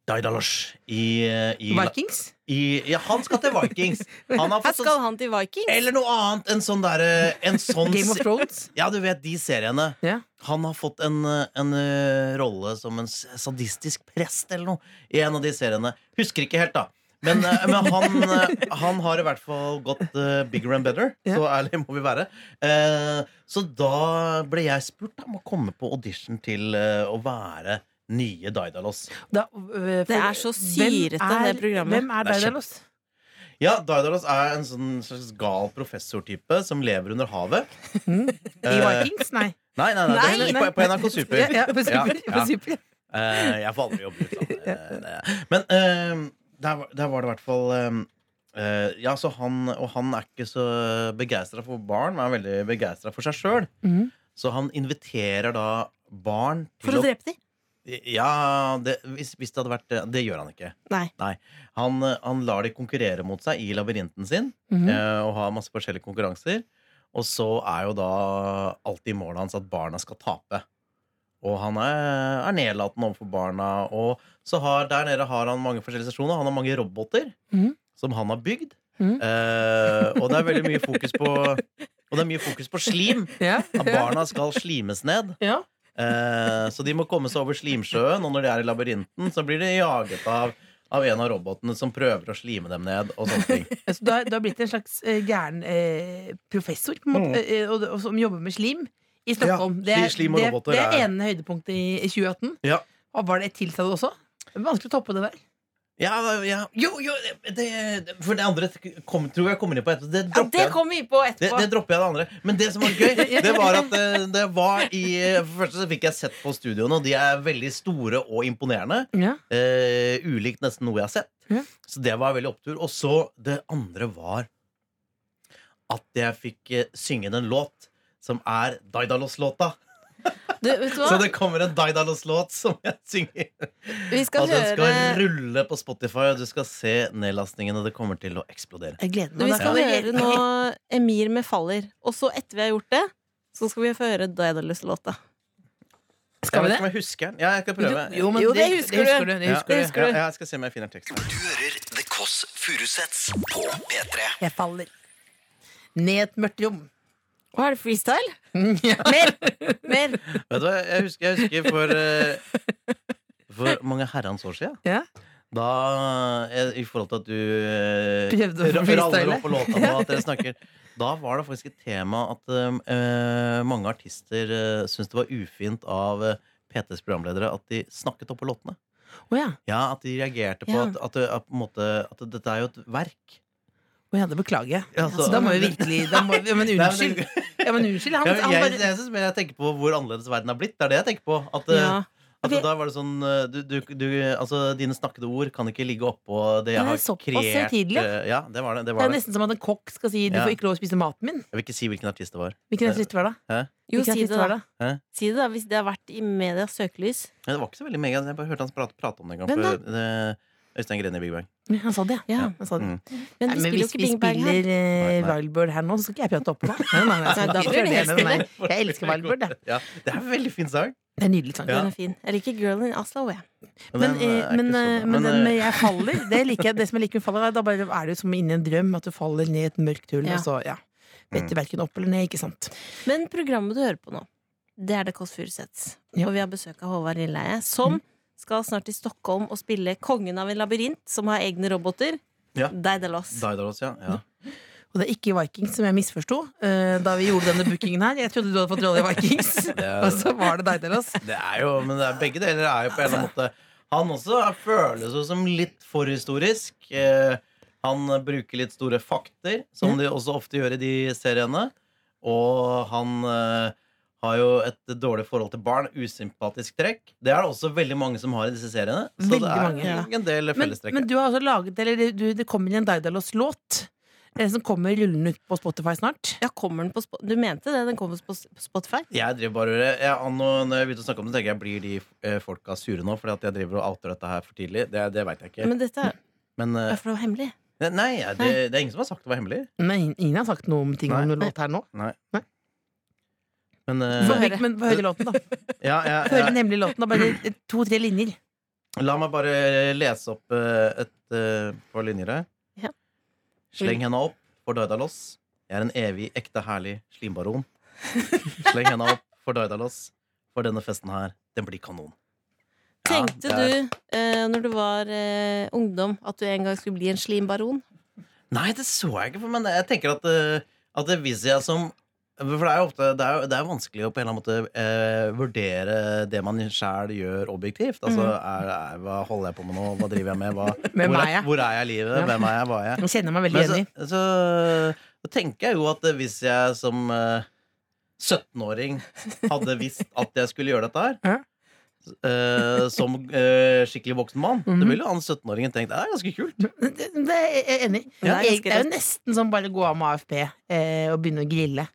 Speaker 6: Daidalos i, eh, i,
Speaker 3: Vikings?
Speaker 6: i Ja, han skal til Vikings. Han har
Speaker 2: Her
Speaker 6: fått sånn,
Speaker 2: skal han til Viking.
Speaker 6: eller noe annet. En sånn derre En sånn
Speaker 3: Game of
Speaker 6: se-
Speaker 3: Thrones?
Speaker 6: Ja, du vet de seriene.
Speaker 3: Ja.
Speaker 6: Han har fått en, eh, en eh, rolle som en s- sadistisk prest eller noe i en av de seriene. Husker ikke helt, da. Men, eh, men han, eh, han har i hvert fall gått eh, bigger and better.
Speaker 3: Ja.
Speaker 6: Så ærlig må vi være. Eh, så da ble jeg spurt da, om å komme på audition til eh, å være nye Daidalos.
Speaker 3: Da, øh, for-
Speaker 2: Det er så syrete,
Speaker 3: hvem er-
Speaker 2: det programmet.
Speaker 3: Hvem er
Speaker 6: Det er
Speaker 3: Daidalos?
Speaker 6: Ja, Daidalos er en sånn slags gal professortype som lever under havet.
Speaker 3: I Vikings? Nei.
Speaker 6: Nei, nei, nei,
Speaker 2: Nei.
Speaker 6: det er på, på NRK Super.
Speaker 3: Ja, ja, på super,
Speaker 6: Ja,
Speaker 3: På
Speaker 6: ja.
Speaker 3: super.
Speaker 6: Eh, jeg får aldri jobbe ut Men eh, der, var- der var det i hvert fall eh, eh, Ja, så han Og han er ikke så begeistra for barn, men er veldig begeistra for seg sjøl.
Speaker 3: Mhm.
Speaker 6: Så han inviterer da barn
Speaker 2: Mm. For å drepe de?
Speaker 6: Ja, det, hvis, hvis det hadde vært Det gjør han ikke.
Speaker 2: Nei.
Speaker 6: Han, eh, han lar de konkurrere mot seg i labyrinten sin
Speaker 3: Mhm.
Speaker 6: eh, og har masse forskjellige konkurranser. Og så er jo da alltid målet hans at barna skal tape. Og han er, er nedlatende overfor barna. Og så har, der nede har han mange forskjellige stasjoner. Han har mange roboter
Speaker 3: Mhm.
Speaker 6: som han har bygd.
Speaker 3: Mhm.
Speaker 6: Eh, og det er veldig mye fokus på Og det er mye fokus på slim.
Speaker 3: Ja.
Speaker 6: At barna skal slimes ned.
Speaker 3: Ja.
Speaker 6: Eh, så de må komme seg over slimsjøen, og når de er i labyrinten, så blir de jaget av, av en av robotene som prøver å slime dem ned. Og sånne ting
Speaker 3: Så du, har, du har blitt en slags eh, gæren eh, professor på en måte, eh, og, og som jobber med slim i Stockholm.
Speaker 6: Mm. Ja,
Speaker 3: det, er,
Speaker 6: sli- slim og
Speaker 3: det,
Speaker 6: roboter
Speaker 3: det er
Speaker 6: er-
Speaker 3: ene høydepunktet i, i 2018.
Speaker 6: Ja.
Speaker 3: Og var det et til, sa du også? Det er Vanskelig å toppe det der.
Speaker 6: Ja, ja. Jo, jo det, det, For det andre kom, tror jeg kommer inn på etterpå. Det
Speaker 2: Ja,
Speaker 6: dropper
Speaker 2: det
Speaker 6: jeg.
Speaker 2: kommer vi på
Speaker 6: Det,
Speaker 2: etterpå.
Speaker 6: det dropper jeg det andre. Men det som var gøy, det var at eh, det var i For det første så fikk jeg sett på studioene, og de er veldig store og imponerende.
Speaker 3: Ja.
Speaker 6: Eh, ulikt nesten noe jeg har sett.
Speaker 3: Ja.
Speaker 6: Så det var veldig opptur. Og så det andre var at jeg fikk eh, synge en låt som er Daidalos-låta.
Speaker 2: Du, vet du hva?
Speaker 6: Så det kommer en Daidalos-låt som jeg synger.
Speaker 2: Vi skal
Speaker 6: Og den
Speaker 2: høre
Speaker 6: skal rulle på Spotify, og du skal se nedlastningene. Det kommer til å eksplodere.
Speaker 3: Jeg gleder
Speaker 2: Du, vi
Speaker 3: meg. Da
Speaker 2: skal
Speaker 3: kan
Speaker 2: høre nå Emir med 'Faller'. Og så, etter vi har gjort det, så skal vi få høre Daedalus-låta.
Speaker 3: Skal vi det?
Speaker 6: Jeg vet ikke om jeg husker den. Ja, jeg skal prøve.
Speaker 3: Jo, men
Speaker 2: Jo,
Speaker 3: det,
Speaker 2: det husker
Speaker 3: det
Speaker 2: du.
Speaker 3: husker du. Det husker
Speaker 6: ja.
Speaker 3: du.
Speaker 2: husker du.
Speaker 6: Ja, jeg skal se om jeg finner teksten.
Speaker 1: Du hører The Kåss Furuseths på P3.
Speaker 3: Jeg faller ned i et mørkt rom.
Speaker 2: Hva er det, freestyle?
Speaker 3: Ja.
Speaker 2: Mer! Mer!
Speaker 6: Vet du hva, jeg husker, jeg husker for eh, For mange herrens år siden.
Speaker 3: Ja.
Speaker 6: Da, eh, I forhold til at du eh,
Speaker 3: Prøvde å
Speaker 6: ra-
Speaker 3: freestyle.
Speaker 6: raller opp på låta nå, at dere snakker Da var det faktisk et tema at eh, mange artister uh, syntes det var ufint av eh, PTs programledere at de snakket opp på låtene.
Speaker 3: Å ja.
Speaker 6: Ja, At de reagerte på
Speaker 3: Ja.
Speaker 6: at, at, det- at, på en måte, at dette er jo et verk.
Speaker 3: Å ja, det beklager jeg.
Speaker 6: Ja,
Speaker 3: Altså,
Speaker 6: så-
Speaker 3: da må vi virkelig da må, ja, Men
Speaker 6: Nei,
Speaker 3: unnskyld.
Speaker 6: men det-
Speaker 3: Ja, men unnskyld han,
Speaker 6: Ja,
Speaker 3: han
Speaker 6: men jeg,
Speaker 3: bare,
Speaker 6: jeg synes mer jeg tenker på hvor annerledes verden har blitt. Det er det jeg tenker på. At, eh,
Speaker 2: Ja.
Speaker 6: at
Speaker 2: Vi-
Speaker 6: da var det sånn eh, du, du, du, altså, Dine snakkede ord kan ikke ligge oppå det
Speaker 3: Nei,
Speaker 6: jeg har
Speaker 3: såpass
Speaker 6: kreert.
Speaker 3: høytidelig, ja.
Speaker 6: eh, Ja, det var det. det,
Speaker 3: det
Speaker 6: var
Speaker 3: er
Speaker 6: det.
Speaker 3: nesten som at en kokk skal si 'du
Speaker 6: Ja.
Speaker 3: får ikke lov å spise maten min'.
Speaker 6: Jeg vil ikke si hvilken artist det var.
Speaker 3: Hvilken artist var det?
Speaker 2: Jo, si
Speaker 3: Hvilken
Speaker 2: det,
Speaker 3: artist var
Speaker 2: da.
Speaker 3: det?
Speaker 2: Si det da, Hvis det har vært i medias søkelys.
Speaker 6: Men det var ikke så veldig mega. Jeg bare hørte han prate, prate om det en gang.
Speaker 2: Hvem
Speaker 6: før, eh, Øystein Grene i Big Bang.
Speaker 3: Ja, Han sa det, ja.
Speaker 2: Ja.
Speaker 3: Han sa det.
Speaker 6: Mm.
Speaker 2: Men
Speaker 3: Nei,
Speaker 2: vi
Speaker 3: men
Speaker 2: spiller jo
Speaker 3: hvis
Speaker 2: ikke
Speaker 3: vi
Speaker 2: Bing Bang her.
Speaker 3: spiller eh,
Speaker 6: Nei, nei.
Speaker 3: Wildbird her nå, så skal ikke jeg prate oppå meg. Nei, nei, nei,
Speaker 2: Nei, da
Speaker 3: jeg
Speaker 2: blir det
Speaker 3: føler jeg
Speaker 2: helt
Speaker 3: med meg. Jeg elsker Wildbird, jeg.
Speaker 6: Ja, det er en veldig fin sang.
Speaker 3: Det er en nydelig sang.
Speaker 6: Ja.
Speaker 2: Den er fin. Jeg liker Girl in Oslo, jeg.
Speaker 3: Men,
Speaker 6: den,
Speaker 3: eh,
Speaker 6: eh, er
Speaker 3: men,
Speaker 6: ikke så
Speaker 3: eh,
Speaker 6: bra.
Speaker 3: men
Speaker 6: Men,
Speaker 3: den
Speaker 6: eh,
Speaker 3: med 'jeg faller', det liker jeg. Det som jeg liker med 'faller', er da bare er det jo som inni en drøm, at du faller ned i et mørkt hull,
Speaker 2: Ja.
Speaker 3: og så, ja. Vet du verken opp eller ned, ikke sant.
Speaker 2: Men programmet du hører på nå, det er Det Kåss Furuseths.
Speaker 3: Ja. Mm.
Speaker 2: Og vi har besøk av Håvard Lilleheie, som skal snart til Stockholm og spille Kongen av en labyrint, som har egne roboter.
Speaker 6: Ja.
Speaker 2: Daidalos.
Speaker 6: Daidalos, ja. ja.
Speaker 3: Og det er ikke Vikings, som jeg misforsto eh, da vi gjorde denne bookingen her. Jeg trodde du hadde fått rolle i Vikings,
Speaker 6: er-
Speaker 3: og så var det deg, Delos.
Speaker 6: Det er jo, men det er, begge deler er jo på en eller annen måte Han også er, føles jo som litt forhistorisk. Eh, han bruker litt store fakter,
Speaker 3: Mm.
Speaker 6: som de også ofte gjør i de seriene. Og han eh, har jo et dårlig forhold til barn. Usympatisk trekk. Det er det også veldig mange som har i disse seriene. Så
Speaker 3: Veldig
Speaker 6: det er
Speaker 3: mange, ja.
Speaker 6: en del
Speaker 3: Men,
Speaker 6: fellestrekk.
Speaker 3: men du har også laget Eller det- du, det kommer en Daidalos-låt eh, som kommer rullende ut på Spotify snart.
Speaker 2: Ja, kommer den på Spo- Du mente det? Den kommer på Sp- Spotify?
Speaker 6: Jeg driver bare jeg, an- og Når jeg begynte å snakke om det, tenker jeg blir de eh, folka sure nå fordi at jeg driver og outer dette her for tidlig. Det, det veit jeg ikke.
Speaker 2: Men dette er
Speaker 6: Men,
Speaker 2: er
Speaker 6: eh,
Speaker 2: for det var hemmelig.
Speaker 6: nei, det, det er ingen som har sagt det var hemmelig.
Speaker 3: Men ingen har sagt noe om ting om
Speaker 6: Nei.
Speaker 3: noen låt her nå.
Speaker 6: Nei.
Speaker 3: Nei.
Speaker 6: Men eh,
Speaker 3: Få høre- Men få høre låten, da.
Speaker 6: ja, ja,
Speaker 3: Få høre
Speaker 6: ja.
Speaker 3: den hemmelige låten. da Bare to-tre linjer.
Speaker 6: La meg bare lese opp eh, et eh, par linjer her.
Speaker 2: Ja.
Speaker 6: Sleng henda opp for Daidalos. Jeg er en evig, ekte, herlig slimbaron. Sleng henda opp for Daidalos, for denne festen her, den blir kanon. Ja,
Speaker 2: Tenkte
Speaker 6: det er-
Speaker 2: du, eh, når du var eh, ungdom, at du en gang skulle bli en slimbaron?
Speaker 6: Nei, det så jeg ikke for meg. Jeg tenker at, eh, at det viser jeg som For det er jo ofte Det er, jo- det er jo vanskelig å på en eller annen måte eh, vurdere det man sjæl gjør, objektivt. Altså, er, er, hva holder jeg på med nå? Hva driver jeg med? Hva,
Speaker 3: Hvem
Speaker 6: hvor,
Speaker 3: er jeg?
Speaker 6: hvor er jeg i livet?
Speaker 3: Ja.
Speaker 6: Hvem er jeg? Hva er jeg?
Speaker 3: Jeg kjenner meg veldig
Speaker 6: Men
Speaker 3: igjen i.
Speaker 6: så, så, så tenker jeg jo at hvis jeg som eh, 17-åring hadde visst at jeg skulle gjøre dette her,
Speaker 3: Ja.
Speaker 6: eh, som eh, skikkelig voksen mann,
Speaker 3: Mhm.
Speaker 6: det ville han 17-åringen tenkt det er ganske kult.
Speaker 3: Det, det er jeg enig i.
Speaker 2: Ja.
Speaker 3: Det, er- det er jo nesten som bare gå av med AFP eh, og begynne å grille.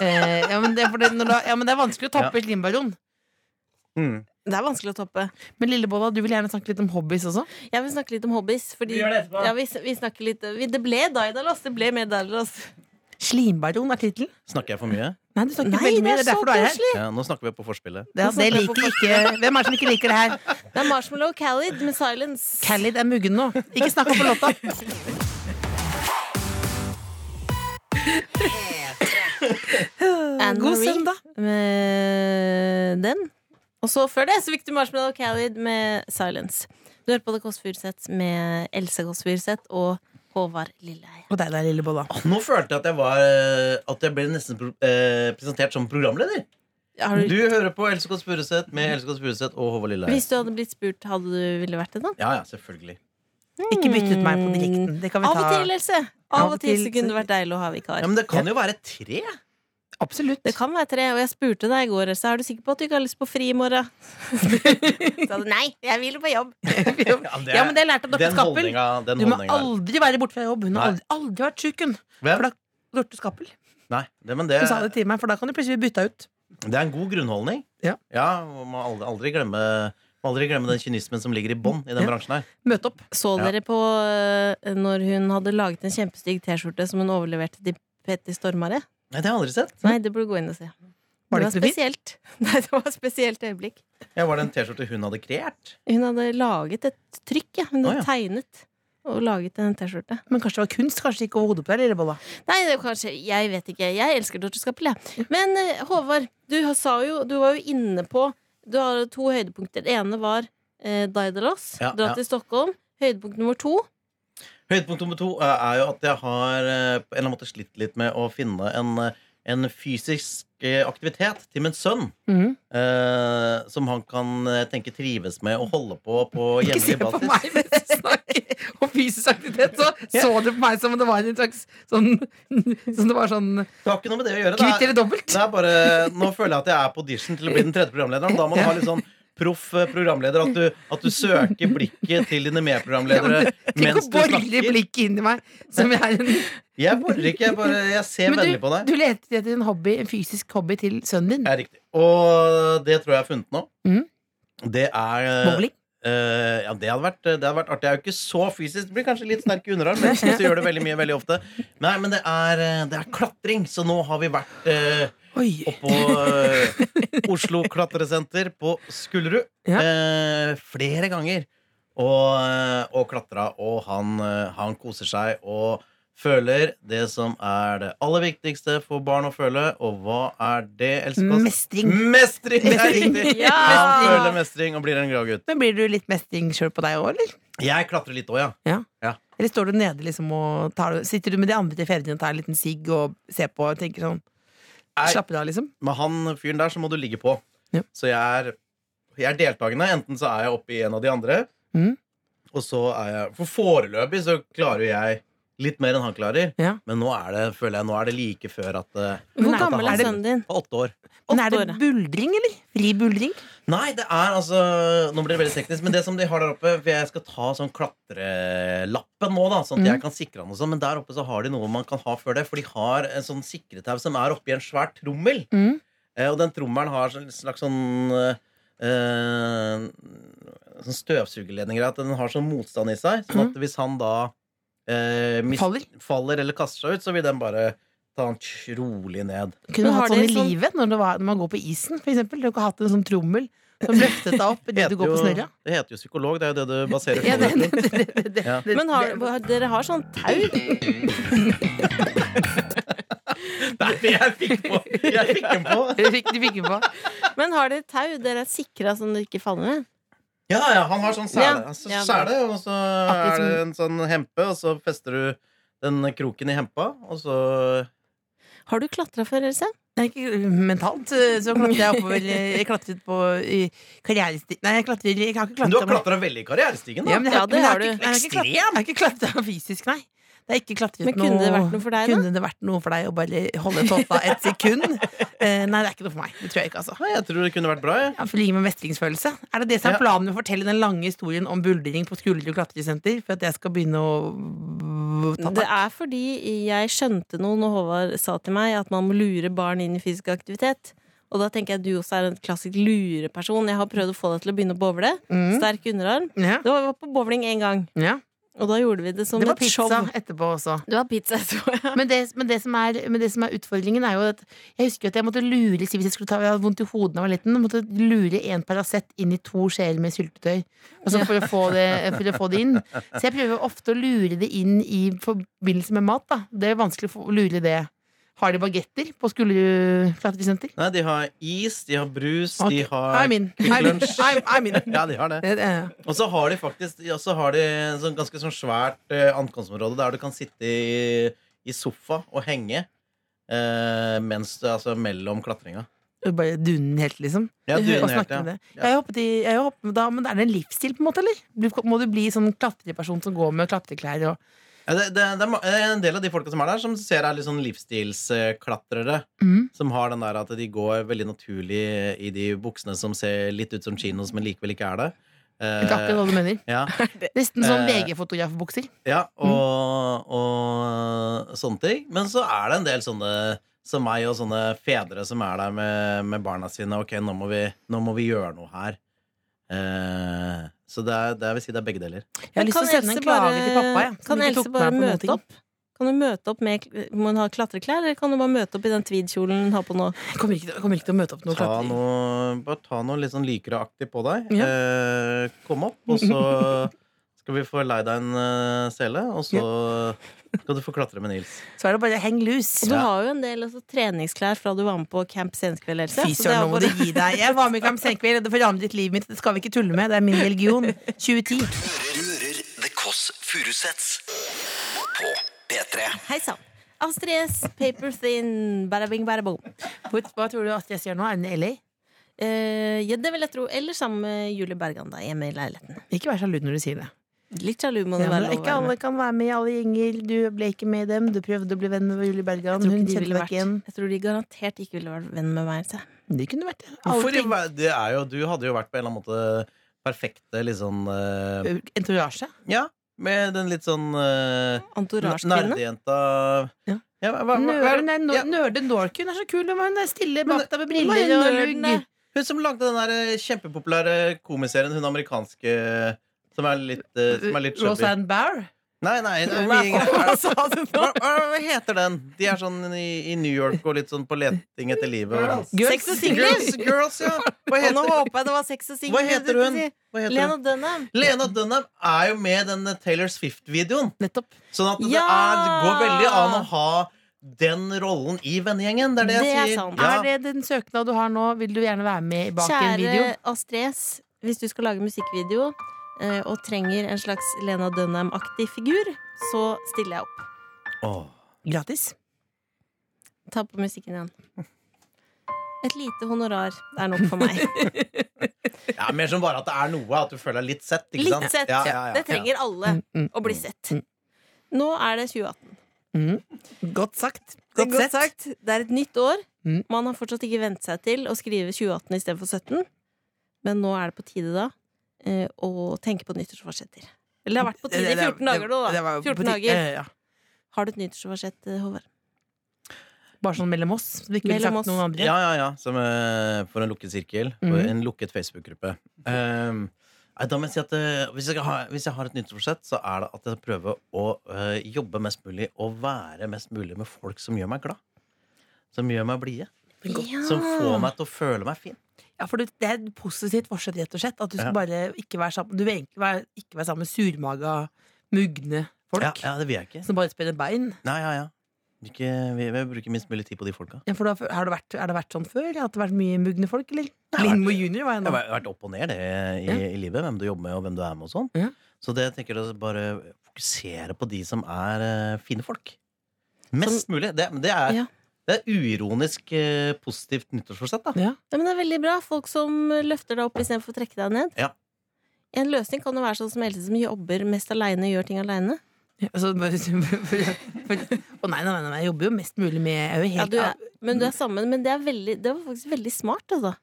Speaker 3: Eh, ja, men det, er for det, når du, har- ja, men det er vanskelig å tappe slimbaron.
Speaker 6: Mm.
Speaker 2: Det er vanskelig å toppe.
Speaker 3: Men Lillebolla, du vil gjerne snakke litt om hobbies også?
Speaker 2: Jeg vil snakke litt om hobbies. Fordi,
Speaker 5: Vi gjør det etterpå.
Speaker 2: ja, vi, vi snakker litt vi, Det ble Daidalos. Det ble mer Daidalos.
Speaker 3: Slimbaron er tittelen.
Speaker 6: Snakker jeg for mye?
Speaker 3: Nei, du snakker
Speaker 2: Nei,
Speaker 3: veldig mye.
Speaker 2: det er
Speaker 3: Det er
Speaker 2: så
Speaker 3: derfor du er her.
Speaker 2: koselig!
Speaker 6: Ja, nå snakker vi på forspillet.
Speaker 3: Det, det liker ikke, hvem er det som ikke liker det her?
Speaker 2: Det er Marshmallow Khalid med Silence. eh,
Speaker 3: Khalid er muggen nå. Ikke snakk om låta.
Speaker 2: Anne
Speaker 3: God
Speaker 2: Marie
Speaker 3: søndag.
Speaker 2: Med den. Og så før det så fikk du Marshmallow Khalid med Silence. Du hører på The Kåss Furuseth med Else Kåss Furuseth og Håvard Lilleheie.
Speaker 3: Og deg der, Lillebolla.
Speaker 6: Nå følte jeg at jeg, var, eh, at jeg ble nesten pro eh, presentert som programleder.
Speaker 2: Har
Speaker 6: Du
Speaker 2: du-
Speaker 6: hører på Else Kåss Furuseth med Else Kåss Furuseth og Håvard Lilleheie.
Speaker 2: Hvis du hadde blitt spurt, hadde du ville vært det da?
Speaker 6: Ja, ja, selvfølgelig.
Speaker 3: Ikke bytt ut meg på direkten. Det kan vi
Speaker 2: Av og
Speaker 3: ta.
Speaker 2: til, Else. Av og til så kunne det vært deilig å ha vikar.
Speaker 6: Ja, men det kan jo være tre.
Speaker 3: Absolutt.
Speaker 2: Det kan være tre, og jeg spurte deg i går Else, er du sikker på at du ikke har lyst på fri i morgen. Så sa du nei, jeg vil på jobb.
Speaker 3: Ja, men det har jeg lært av Dorte
Speaker 6: den
Speaker 3: Skappel.
Speaker 6: holdninga. Den
Speaker 3: Du må
Speaker 6: holdninga der.
Speaker 3: aldri være borte fra jobb. Hun har
Speaker 6: Nei.
Speaker 3: aldri, aldri vært sjuk, hun.
Speaker 6: Hvem?
Speaker 3: For da- Dorte Skappel.
Speaker 6: Nei, det, men det,
Speaker 3: Hun sa det til meg, for da kan du plutselig bli bytta ut.
Speaker 6: det er en god grunnholdning.
Speaker 3: Ja.
Speaker 6: og man må aldri, aldri glemme må aldri glemme den kynismen som ligger i bånn i den
Speaker 3: Ja.
Speaker 6: bransjen her.
Speaker 3: Møte opp.
Speaker 2: Så
Speaker 6: Ja.
Speaker 2: dere på eh, når hun hadde laget en kjempestygg T-skjorte som hun overleverte til Petter Stormare?
Speaker 6: Nei, det har jeg aldri sett.
Speaker 2: Nei, det burde du gå inn og se.
Speaker 3: Var det
Speaker 2: var
Speaker 3: ikke noe fint?
Speaker 2: spesielt. Nei, det var et spesielt øyeblikk.
Speaker 6: Ja, var det en T-skjorte hun hadde kreert?
Speaker 2: Hun hadde laget et trykk, ja. Hun hadde
Speaker 6: Å, ja.
Speaker 2: tegnet og laget en T-skjorte.
Speaker 3: Men kanskje det var kunst? Kanskje det gikk over hodet på deg, lillebolla?
Speaker 2: Nei, det er kanskje, jeg vet ikke. Jeg elsker Dorte Skappel, jeg. Men eh, Håvard, du, har- sa jo, du var jo inne på Du har to høydepunkter. Det ene var eh, Daidalos.
Speaker 6: Ja,
Speaker 2: dra
Speaker 6: ja.
Speaker 2: til Stockholm. Høydepunkt nummer to.
Speaker 6: Høydepunkt nummer to eh, er jo at jeg har eh, på en eller annen måte slitt litt med å finne en, eh, en fysisk eh, aktivitet til min sønn.
Speaker 3: Mhm.
Speaker 6: eh, som han kan eh, tenke trives med å holde på på
Speaker 3: Ikke se
Speaker 6: jevnlig
Speaker 3: på
Speaker 6: basis.
Speaker 3: meg mens jeg snakker om fysisk aktivitet. Så så du på meg som om det var en slags sånn Som det var sånn
Speaker 6: Det har ikke noe med det å gjøre.
Speaker 3: kvitt
Speaker 6: Det er,
Speaker 3: eller dobbelt.
Speaker 6: det er bare, nå føler jeg at jeg er på audition til å bli den tredje programlederen. Da må du ha litt sånn proff eh, programleder. At du, at du søker blikket til dine medprogramledere
Speaker 3: Tenk å
Speaker 6: mens du
Speaker 3: bore
Speaker 6: snakker.
Speaker 3: blikket inn i meg. Som jeg er en
Speaker 6: Jeg borer ikke. Jeg, bare, jeg ser
Speaker 3: Men
Speaker 6: vennlig på deg. Eh,
Speaker 3: du, du leter etter en hobby, en fysisk hobby til sønnen din.
Speaker 6: Ja, riktig. Og det tror jeg jeg har funnet nå.
Speaker 3: Mhm.
Speaker 6: Det er eh,
Speaker 3: Bowling.
Speaker 6: Eh, ja, det hadde, vært, det hadde vært artig. Jeg er jo ikke så fysisk. Det blir kanskje litt sterk i underarm, men jeg synes jeg gjør det veldig mye veldig ofte. Nei, men det er, eh, det er klatring, så nå har vi vært eh,
Speaker 3: Oi.
Speaker 6: oppå eh, Oslo klatresenter på Skullerud
Speaker 3: Ja.
Speaker 6: eh, flere ganger og, eh, og klatra, og han, eh, han koser seg og føler det som er det aller viktigste for barn å føle, og hva er det, Else Kåss?
Speaker 3: Mestring.
Speaker 6: Mestring! Det er riktig!
Speaker 2: Ja!
Speaker 6: Han føler mestring og blir en glad gutt.
Speaker 3: Men blir du litt mestring sjøl på deg òg, eller?
Speaker 6: Jeg klatrer litt òg, ja.
Speaker 3: Eller står du nede liksom og tar, sitter du med de andre til fedrene og tar en liten sigg og ser på og tenker sånn
Speaker 6: Nei.
Speaker 3: Slapper av, liksom?
Speaker 6: Med han fyren der så må du ligge på.
Speaker 3: Ja.
Speaker 6: Så jeg er, jeg er deltakende. Enten så er jeg oppe i en av de andre,
Speaker 3: Mhm.
Speaker 6: og så er jeg For foreløpig så klarer jo jeg litt mer enn han klarer.
Speaker 3: Ja.
Speaker 6: Men nå er det, føler jeg, nå er det like før at eh,
Speaker 2: Hvor
Speaker 3: Men er-
Speaker 2: gammel
Speaker 6: er
Speaker 2: er
Speaker 6: det-
Speaker 2: sønnen din?
Speaker 6: på Åtte år.
Speaker 3: Men er
Speaker 2: Åtte
Speaker 3: det
Speaker 2: år.
Speaker 3: buldring, eller? Fri buldring?
Speaker 6: Nei, det er altså Nå blir det veldig teknisk, men det som de har der oppe For jeg skal ta sånn klatrelappen nå, da,
Speaker 3: Mm.
Speaker 6: sånn at jeg kan sikre han og sånn. Men der oppe så har de noe man kan ha før det, for de har en sånn sikretau som er oppi en svær trommel.
Speaker 3: Mm.
Speaker 6: Eh, og den trommelen har en slags sånn eh, eh, Sånn støvsugerledning at den har sånn motstand i seg, sånn at hvis han da eh,
Speaker 3: Mhm.
Speaker 6: mis-
Speaker 3: Faller?
Speaker 6: faller eller kaster seg ut, så vil den bare ta han tj- rolig ned.
Speaker 3: Kunne
Speaker 2: Men
Speaker 3: du
Speaker 2: har
Speaker 3: hatt sånn
Speaker 2: dere
Speaker 3: i
Speaker 2: sånn-
Speaker 3: livet, når, det var, når man går på isen, for eksempel? Du har ikke hatt en sånn trommel som løftet deg opp idet du går på
Speaker 6: jo,
Speaker 3: snørra?
Speaker 6: det heter jo psykolog, det er jo det du baserer
Speaker 3: Ja, det,
Speaker 6: på.
Speaker 3: det, det, det, det,
Speaker 6: Ja.
Speaker 2: Men har, har- dere har sånn tau?
Speaker 6: Nei, jeg fikk på! Jeg fikk den på.
Speaker 3: Du fikk, du fikk den på.
Speaker 2: Men har dere tau dere er sikra sånn du ikke faller ned?
Speaker 6: Ja, ja, han har sånn
Speaker 2: Ja,
Speaker 6: sele, altså,
Speaker 2: ja, bra.
Speaker 6: sele og så
Speaker 3: Akkurat
Speaker 6: er det
Speaker 3: som-
Speaker 6: en sånn hempe, og så fester du den kroken i hempa, og så
Speaker 2: Har du klatra før, Else?
Speaker 3: Nei, ikke mentalt. eh, Så klatret jeg oppover eh, Jeg klatret på i karrieresti... Nei, jeg klatrer Jeg har ikke
Speaker 6: Men du har
Speaker 3: klatra
Speaker 6: klatra veldig i karrierestigen, da.
Speaker 3: Ja, men jeg har,
Speaker 2: Ja, det
Speaker 3: men jeg
Speaker 2: har
Speaker 3: har
Speaker 2: du.
Speaker 3: ikke- jeg har ikke klatra- Jeg har ikke klatra fysisk, nei. Det er ikke klatret
Speaker 2: Men kunne det vært noe for deg, da?
Speaker 3: Kunne det vært noe for deg å bare holde tåta et sekund? Eh, nei, det er ikke noe for meg. Det tror jeg ikke, altså.
Speaker 6: Nei, jeg tror det kunne vært bra. Jeg.
Speaker 3: Ja, for ligge med mestringsfølelse. Er det det som er
Speaker 6: Ja.
Speaker 3: planen med å fortelle den lange historien om buldring på Skulder og klatresenter? For at jeg skal begynne å ta
Speaker 2: Det er fordi jeg skjønte noe når Håvard sa til meg at man må lure barn inn i fysisk aktivitet. Og da tenker jeg at du også er en klassisk lureperson. Jeg har prøvd å få deg til å begynne å bowle.
Speaker 3: Mm.
Speaker 2: Sterk underarm.
Speaker 3: Ja.
Speaker 2: Det var på bowling én gang,
Speaker 3: ja.
Speaker 2: og da gjorde vi det som
Speaker 3: Det var
Speaker 2: et show.
Speaker 3: pizza etterpå også.
Speaker 2: Det var pizza, tror jeg.
Speaker 3: Men det, men, det som er, men det som er utfordringen, er jo at jeg husker jo at jeg måtte lure Siv hvis jeg skulle ta jeg hadde vondt i hodet da jeg var liten. jeg Måtte lure en Paracet inn i to skjeer med syltetøy altså for, å få det, for å få det inn. Så jeg prøver ofte å lure det inn i forbindelse med mat. Da. Det er vanskelig å få- lure det. Har de bagetter på Skullerud klatresenter?
Speaker 6: Nei, de har is, de har brus, de
Speaker 3: Ok. I'm
Speaker 6: har
Speaker 3: in. I'm in. I'm, I'm in.
Speaker 6: Ja, de har det.
Speaker 3: Det- det-
Speaker 6: Og så har de faktisk ja, så har de en sånn ganske sånn svært eh, ankomstområde der du kan sitte i, i sofa og henge eh, mens du, altså mellom klatringa.
Speaker 3: det bare dunen helt, liksom.
Speaker 6: Ja,
Speaker 3: Og
Speaker 6: dunen helt,
Speaker 3: snakke
Speaker 6: ja.
Speaker 3: om det. Jeg har hoppet i, jeg har hoppet, men da, men er det en livsstil, på en måte? eller? Du- Må du bli sånn klatreperson som går med klatreklær og
Speaker 6: Ja, det, det, det er ma- eh, en del av de folka som er der, som ser er litt sånn livsstilsklatrere.
Speaker 3: Mm.
Speaker 6: Som har den der at de går veldig naturlig i de buksene som ser litt ut som chinos, men likevel ikke er det. Eh,
Speaker 3: Ikke sånn- akkurat hva du mener.
Speaker 6: ja,
Speaker 3: Nesten sånn
Speaker 6: Eh,
Speaker 3: VG-fotografbukser.
Speaker 6: ja, og, og sånne ting. Men så er det en del sånne som meg og sånne fedre som er der med, med barna sine. Ok, nå må vi, nå må vi gjøre noe her. Eh, så det er, det er, jeg vil si det er begge deler.
Speaker 3: Jeg har
Speaker 2: Men
Speaker 3: lyst til
Speaker 2: kan
Speaker 3: å sende en
Speaker 2: Else
Speaker 3: klage
Speaker 2: bare-
Speaker 3: til pappa. Jeg,
Speaker 2: kan
Speaker 3: som ikke
Speaker 2: Else
Speaker 3: tok
Speaker 2: bare
Speaker 3: meg på noen
Speaker 2: møte
Speaker 3: ting.
Speaker 2: opp? Kan du møte opp med Må hun ha klatreklær, eller kan du bare møte opp i den tweedkjolen hun har på nå?
Speaker 3: Jeg kommer ikke, til- jeg kommer ikke til å møte opp noe
Speaker 6: Ta
Speaker 3: klatring.
Speaker 6: noe, bare ta noe litt sånn lykreaktig på deg.
Speaker 3: Ja.
Speaker 6: Eh, kom opp, og så skal vi få lei deg en eh, sele, og så skal du få klatre med Nils.
Speaker 3: Så er det bare heng lus.
Speaker 2: Og du
Speaker 6: Ja.
Speaker 2: har jo en del altså, treningsklær fra du var med på Camp Senkveld, Else.
Speaker 3: Fy
Speaker 2: så det er
Speaker 3: søren, nå må du
Speaker 2: bare-
Speaker 3: gi deg. Jeg var med i Camp Senkveld, og det forandret livet mitt. Det skal vi ikke tulle med. Det er min religion. 2010.
Speaker 1: Du hører The Kåss Furuseths på P3.
Speaker 2: Hei sann. Astrid S, Paper Thin, bada bing, bada boom.
Speaker 3: Hvor- Hva tror du Astrid S gjør nå? Er hun i LA?
Speaker 2: Eh, ja, det vil jeg tro. Eller sammen med Julie Bergan, da, hjemme i leiligheten.
Speaker 3: Ikke vær sjalu når du sier det.
Speaker 2: Litt sjalu må det
Speaker 3: Ja,
Speaker 2: være
Speaker 3: men
Speaker 2: lov å
Speaker 3: ikke
Speaker 2: være.
Speaker 3: alle
Speaker 2: med.
Speaker 3: kan være med i alle gjenger. Du ble ikke med i dem. Du prøvde å bli venn med Julie Bergan.
Speaker 2: Jeg tror,
Speaker 3: Hun
Speaker 2: ikke de
Speaker 3: kjente
Speaker 2: ville
Speaker 3: deg ikke igjen.
Speaker 2: vært, jeg tror de garantert ikke ville vært venn med meg. Så.
Speaker 3: Det kunne vært det.
Speaker 6: Hvorfor i
Speaker 3: Allting.
Speaker 6: ver- det er jo, du hadde jo vært på en eller annen måte perfekte litt sånn eh,
Speaker 3: Entourage.
Speaker 6: Ja, med den litt sånn eh,
Speaker 2: Entourage-kvinne.
Speaker 6: nerdejenta
Speaker 3: Ja.
Speaker 6: Ja, hva- hva- hva-
Speaker 3: Nerden er,
Speaker 6: ja,
Speaker 3: nerde Nork. Hun er så kul. Hun er stille
Speaker 6: Men-
Speaker 3: bak deg med
Speaker 2: Hva
Speaker 3: briller
Speaker 2: er
Speaker 3: og
Speaker 2: nerden,
Speaker 3: lugg.
Speaker 6: Hun som lagde den der eh, kjempepopulære komiserien, hun amerikanske som er litt, eh, som er litt chubby.
Speaker 3: Rosanne Barr.
Speaker 6: Nei, nei,
Speaker 3: Hva
Speaker 6: vi-
Speaker 3: sa du nå?
Speaker 6: hva, hva heter den? De er sånn i, i New York og litt sånn på leting etter livet. og-
Speaker 3: Girls.
Speaker 2: Sex og singler!
Speaker 6: Girls, girls, ja! Hva
Speaker 2: Og nå
Speaker 6: heter,
Speaker 2: håper jeg det var sex og singler.
Speaker 6: hva heter hun? Hva heter
Speaker 2: Lena
Speaker 6: hun?
Speaker 2: Dunham.
Speaker 6: Lena Dunham er jo med i den eh, Taylor Swift-videoen.
Speaker 3: Nettopp.
Speaker 6: Sånn at det,
Speaker 2: Ja!
Speaker 6: er, det går veldig an å ha den rollen i vennegjengen. Det er det jeg
Speaker 2: Det er
Speaker 6: sier.
Speaker 2: sant.
Speaker 6: Ja.
Speaker 3: Er det den søknaden du har nå? Vil du gjerne være med bak i en video?
Speaker 2: Kjære Astrid S, hvis du skal lage musikkvideo eh, og trenger en slags Lena Dunham-aktig figur, så stiller jeg opp.
Speaker 6: Åh.
Speaker 3: Gratis.
Speaker 2: Ta på musikken igjen. Et lite honorar er nok for meg.
Speaker 6: Ja, mer som bare at det er noe, at du føler deg litt sett. Ikke
Speaker 2: Litt
Speaker 6: sant?
Speaker 2: sett.
Speaker 6: Ja, ja, ja.
Speaker 2: Det trenger alle
Speaker 3: Mm, mm,
Speaker 2: å bli sett. Nå er det 2018.
Speaker 3: Godt sagt.
Speaker 2: Det
Speaker 3: Godt
Speaker 2: er godt
Speaker 3: sett.
Speaker 2: sagt. Det er et nytt år.
Speaker 3: Mm.
Speaker 2: Man har fortsatt ikke vent seg til å skrive 2018 istedenfor 17. Men nå er det på tide, da, eh, å tenke på nyttårsforsetter. Eller det har vært på tide i 14 dager nå,
Speaker 3: Det
Speaker 2: da.
Speaker 3: var jo på
Speaker 2: 14
Speaker 3: tide.
Speaker 2: dager.
Speaker 3: Eh, ja.
Speaker 2: Har du et nyttårsforsett, eh, Håvard?
Speaker 3: Bare sånn mellom oss. Så vi ikke ville
Speaker 2: Mellom
Speaker 3: sagt
Speaker 2: oss.
Speaker 3: noen andre.
Speaker 6: Ja, ja, ja. Som eh, for en lukket sirkel. For
Speaker 3: Mhm.
Speaker 6: en lukket Facebook-gruppe. Ehm, nei, da må jeg si at eh, hvis, jeg skal ha, hvis jeg har et nyttårsforsett, så er det at jeg prøver å eh, jobbe mest mulig og være mest mulig med folk som gjør meg glad. Som gjør meg blide.
Speaker 2: Ja.
Speaker 6: Som får meg til å føle meg fin.
Speaker 3: Ja, for du- Det er et positivt forsett, rett og slett. At du skal
Speaker 6: Ja.
Speaker 3: bare ikke være sammen Du vil egentlig være, ikke være sammen med surmaga, mugne
Speaker 6: Ja,
Speaker 3: folk
Speaker 6: ja, det vil jeg ikke.
Speaker 3: som bare spiller bein.
Speaker 6: Nei, ja, ja. Ikke, vi, vi bruker minst mulig tid på de folka.
Speaker 3: Ja, for da, har det vært, er det vært sånn før? At det har vært mye mugne folk, eller?
Speaker 6: har
Speaker 3: Lindmo junior var jeg
Speaker 6: Det
Speaker 3: nå.
Speaker 6: har vært opp og ned det i,
Speaker 3: Ja.
Speaker 6: i livet, hvem du jobber med og hvem du er med og sånn.
Speaker 3: Ja.
Speaker 6: Så det jeg tenker jeg bare fokusere på de som er eh, fine folk. Mest mulig. Det, men det, er,
Speaker 2: Ja.
Speaker 6: det er uironisk eh, positivt nyttårsforsett, da.
Speaker 3: Ja.
Speaker 2: Ja, men det er veldig bra. Folk som løfter deg opp istedenfor å trekke deg ned.
Speaker 6: Ja.
Speaker 2: En løsning kan jo være sånn som Else, som jobber mest aleine, gjør ting aleine.
Speaker 3: Ja, altså, bare- Å nei, nei, nei, nei, jeg jobber jo mest mulig med Jeg er jo
Speaker 2: Ja,
Speaker 3: helt
Speaker 2: du er, men du er sammen. Men det, er veldig, det var faktisk veldig smart, altså.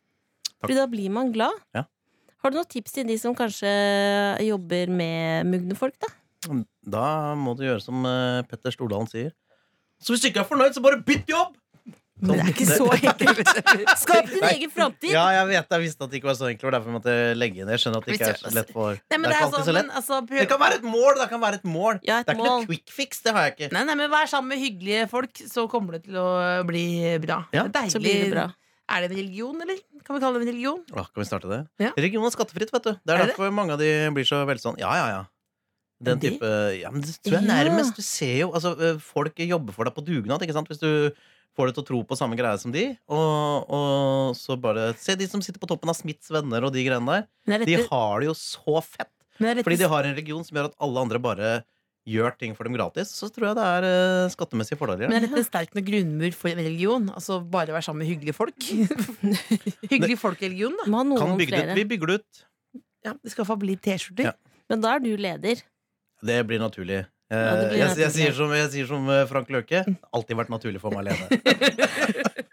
Speaker 2: Fordi da blir man glad.
Speaker 6: Ja.
Speaker 2: Har du noen tips til de som kanskje jobber med mugne folk, da?
Speaker 6: Da må du gjøre som eh, Petter Stordalen sier. Så hvis du ikke er fornøyd, så bare bytt jobb!
Speaker 3: Men det er ikke så enkelt.
Speaker 2: Skap din
Speaker 6: Nei.
Speaker 2: egen framtid!
Speaker 6: Ja, jeg vet, jeg visste at det ikke var så enkelt. Det var derfor jeg måtte legge inn. Jeg skjønner at det ikke er så lett for
Speaker 3: Nei, men det
Speaker 6: Det er
Speaker 3: er
Speaker 6: ikke alltid
Speaker 3: sånn,
Speaker 6: så
Speaker 3: men
Speaker 6: lett.
Speaker 3: altså
Speaker 6: Det
Speaker 3: prøv.
Speaker 6: kan være et mål! Det kan være et mål.
Speaker 2: Ja, et
Speaker 6: Det er ikke
Speaker 2: mål.
Speaker 6: noe quick fix. Det har jeg ikke.
Speaker 3: Nei, nei, men Vær sammen med hyggelige folk, så kommer det til å bli bra.
Speaker 6: Ja,
Speaker 3: Det er
Speaker 2: Så blir det bra.
Speaker 3: Er det en religion, eller? Kan vi kalle det en religion?
Speaker 6: Åh, kan vi starte det?
Speaker 3: Ja.
Speaker 6: Regionen er skattefritt, vet du. Det er,
Speaker 3: Er det
Speaker 6: derfor mange av de blir så velstående. Ja, ja, ja. Den
Speaker 3: de?
Speaker 6: type Ja, men det tror
Speaker 2: Ja.
Speaker 6: jeg nærmest. Du ser jo altså, ø, Folk jobber for deg på dugnad, ikke sant? Hvis du får deg til å tro på samme greie som de. Og, og så bare Se de som sitter på toppen av Smiths venner og de greiene der.
Speaker 3: Men det er
Speaker 6: De
Speaker 3: dette-
Speaker 6: har det jo så fett.
Speaker 3: men det er dette-
Speaker 6: Fordi de har en region som gjør at alle andre bare gjør ting for dem gratis. Så tror jeg det er ø, skattemessige fordeler.
Speaker 3: Men er dette en sterk nok grunnmur for en religion? Altså bare være sammen med hyggelige folk? Hyggelig folk-religion, da.
Speaker 2: Må ha noen
Speaker 6: Kan bygge det ut.
Speaker 2: flere.
Speaker 6: Vi bygger det ut.
Speaker 3: Ja, det skal iallfall bli T-skjorter.
Speaker 6: Ja.
Speaker 2: Men da er du leder.
Speaker 6: Det blir naturlig. Eh,
Speaker 2: Ja, det blir
Speaker 6: jeg, jeg,
Speaker 2: naturlig.
Speaker 6: sier som, jeg sier som eh, Frank Løke. Det har Alltid vært naturlig for meg alene.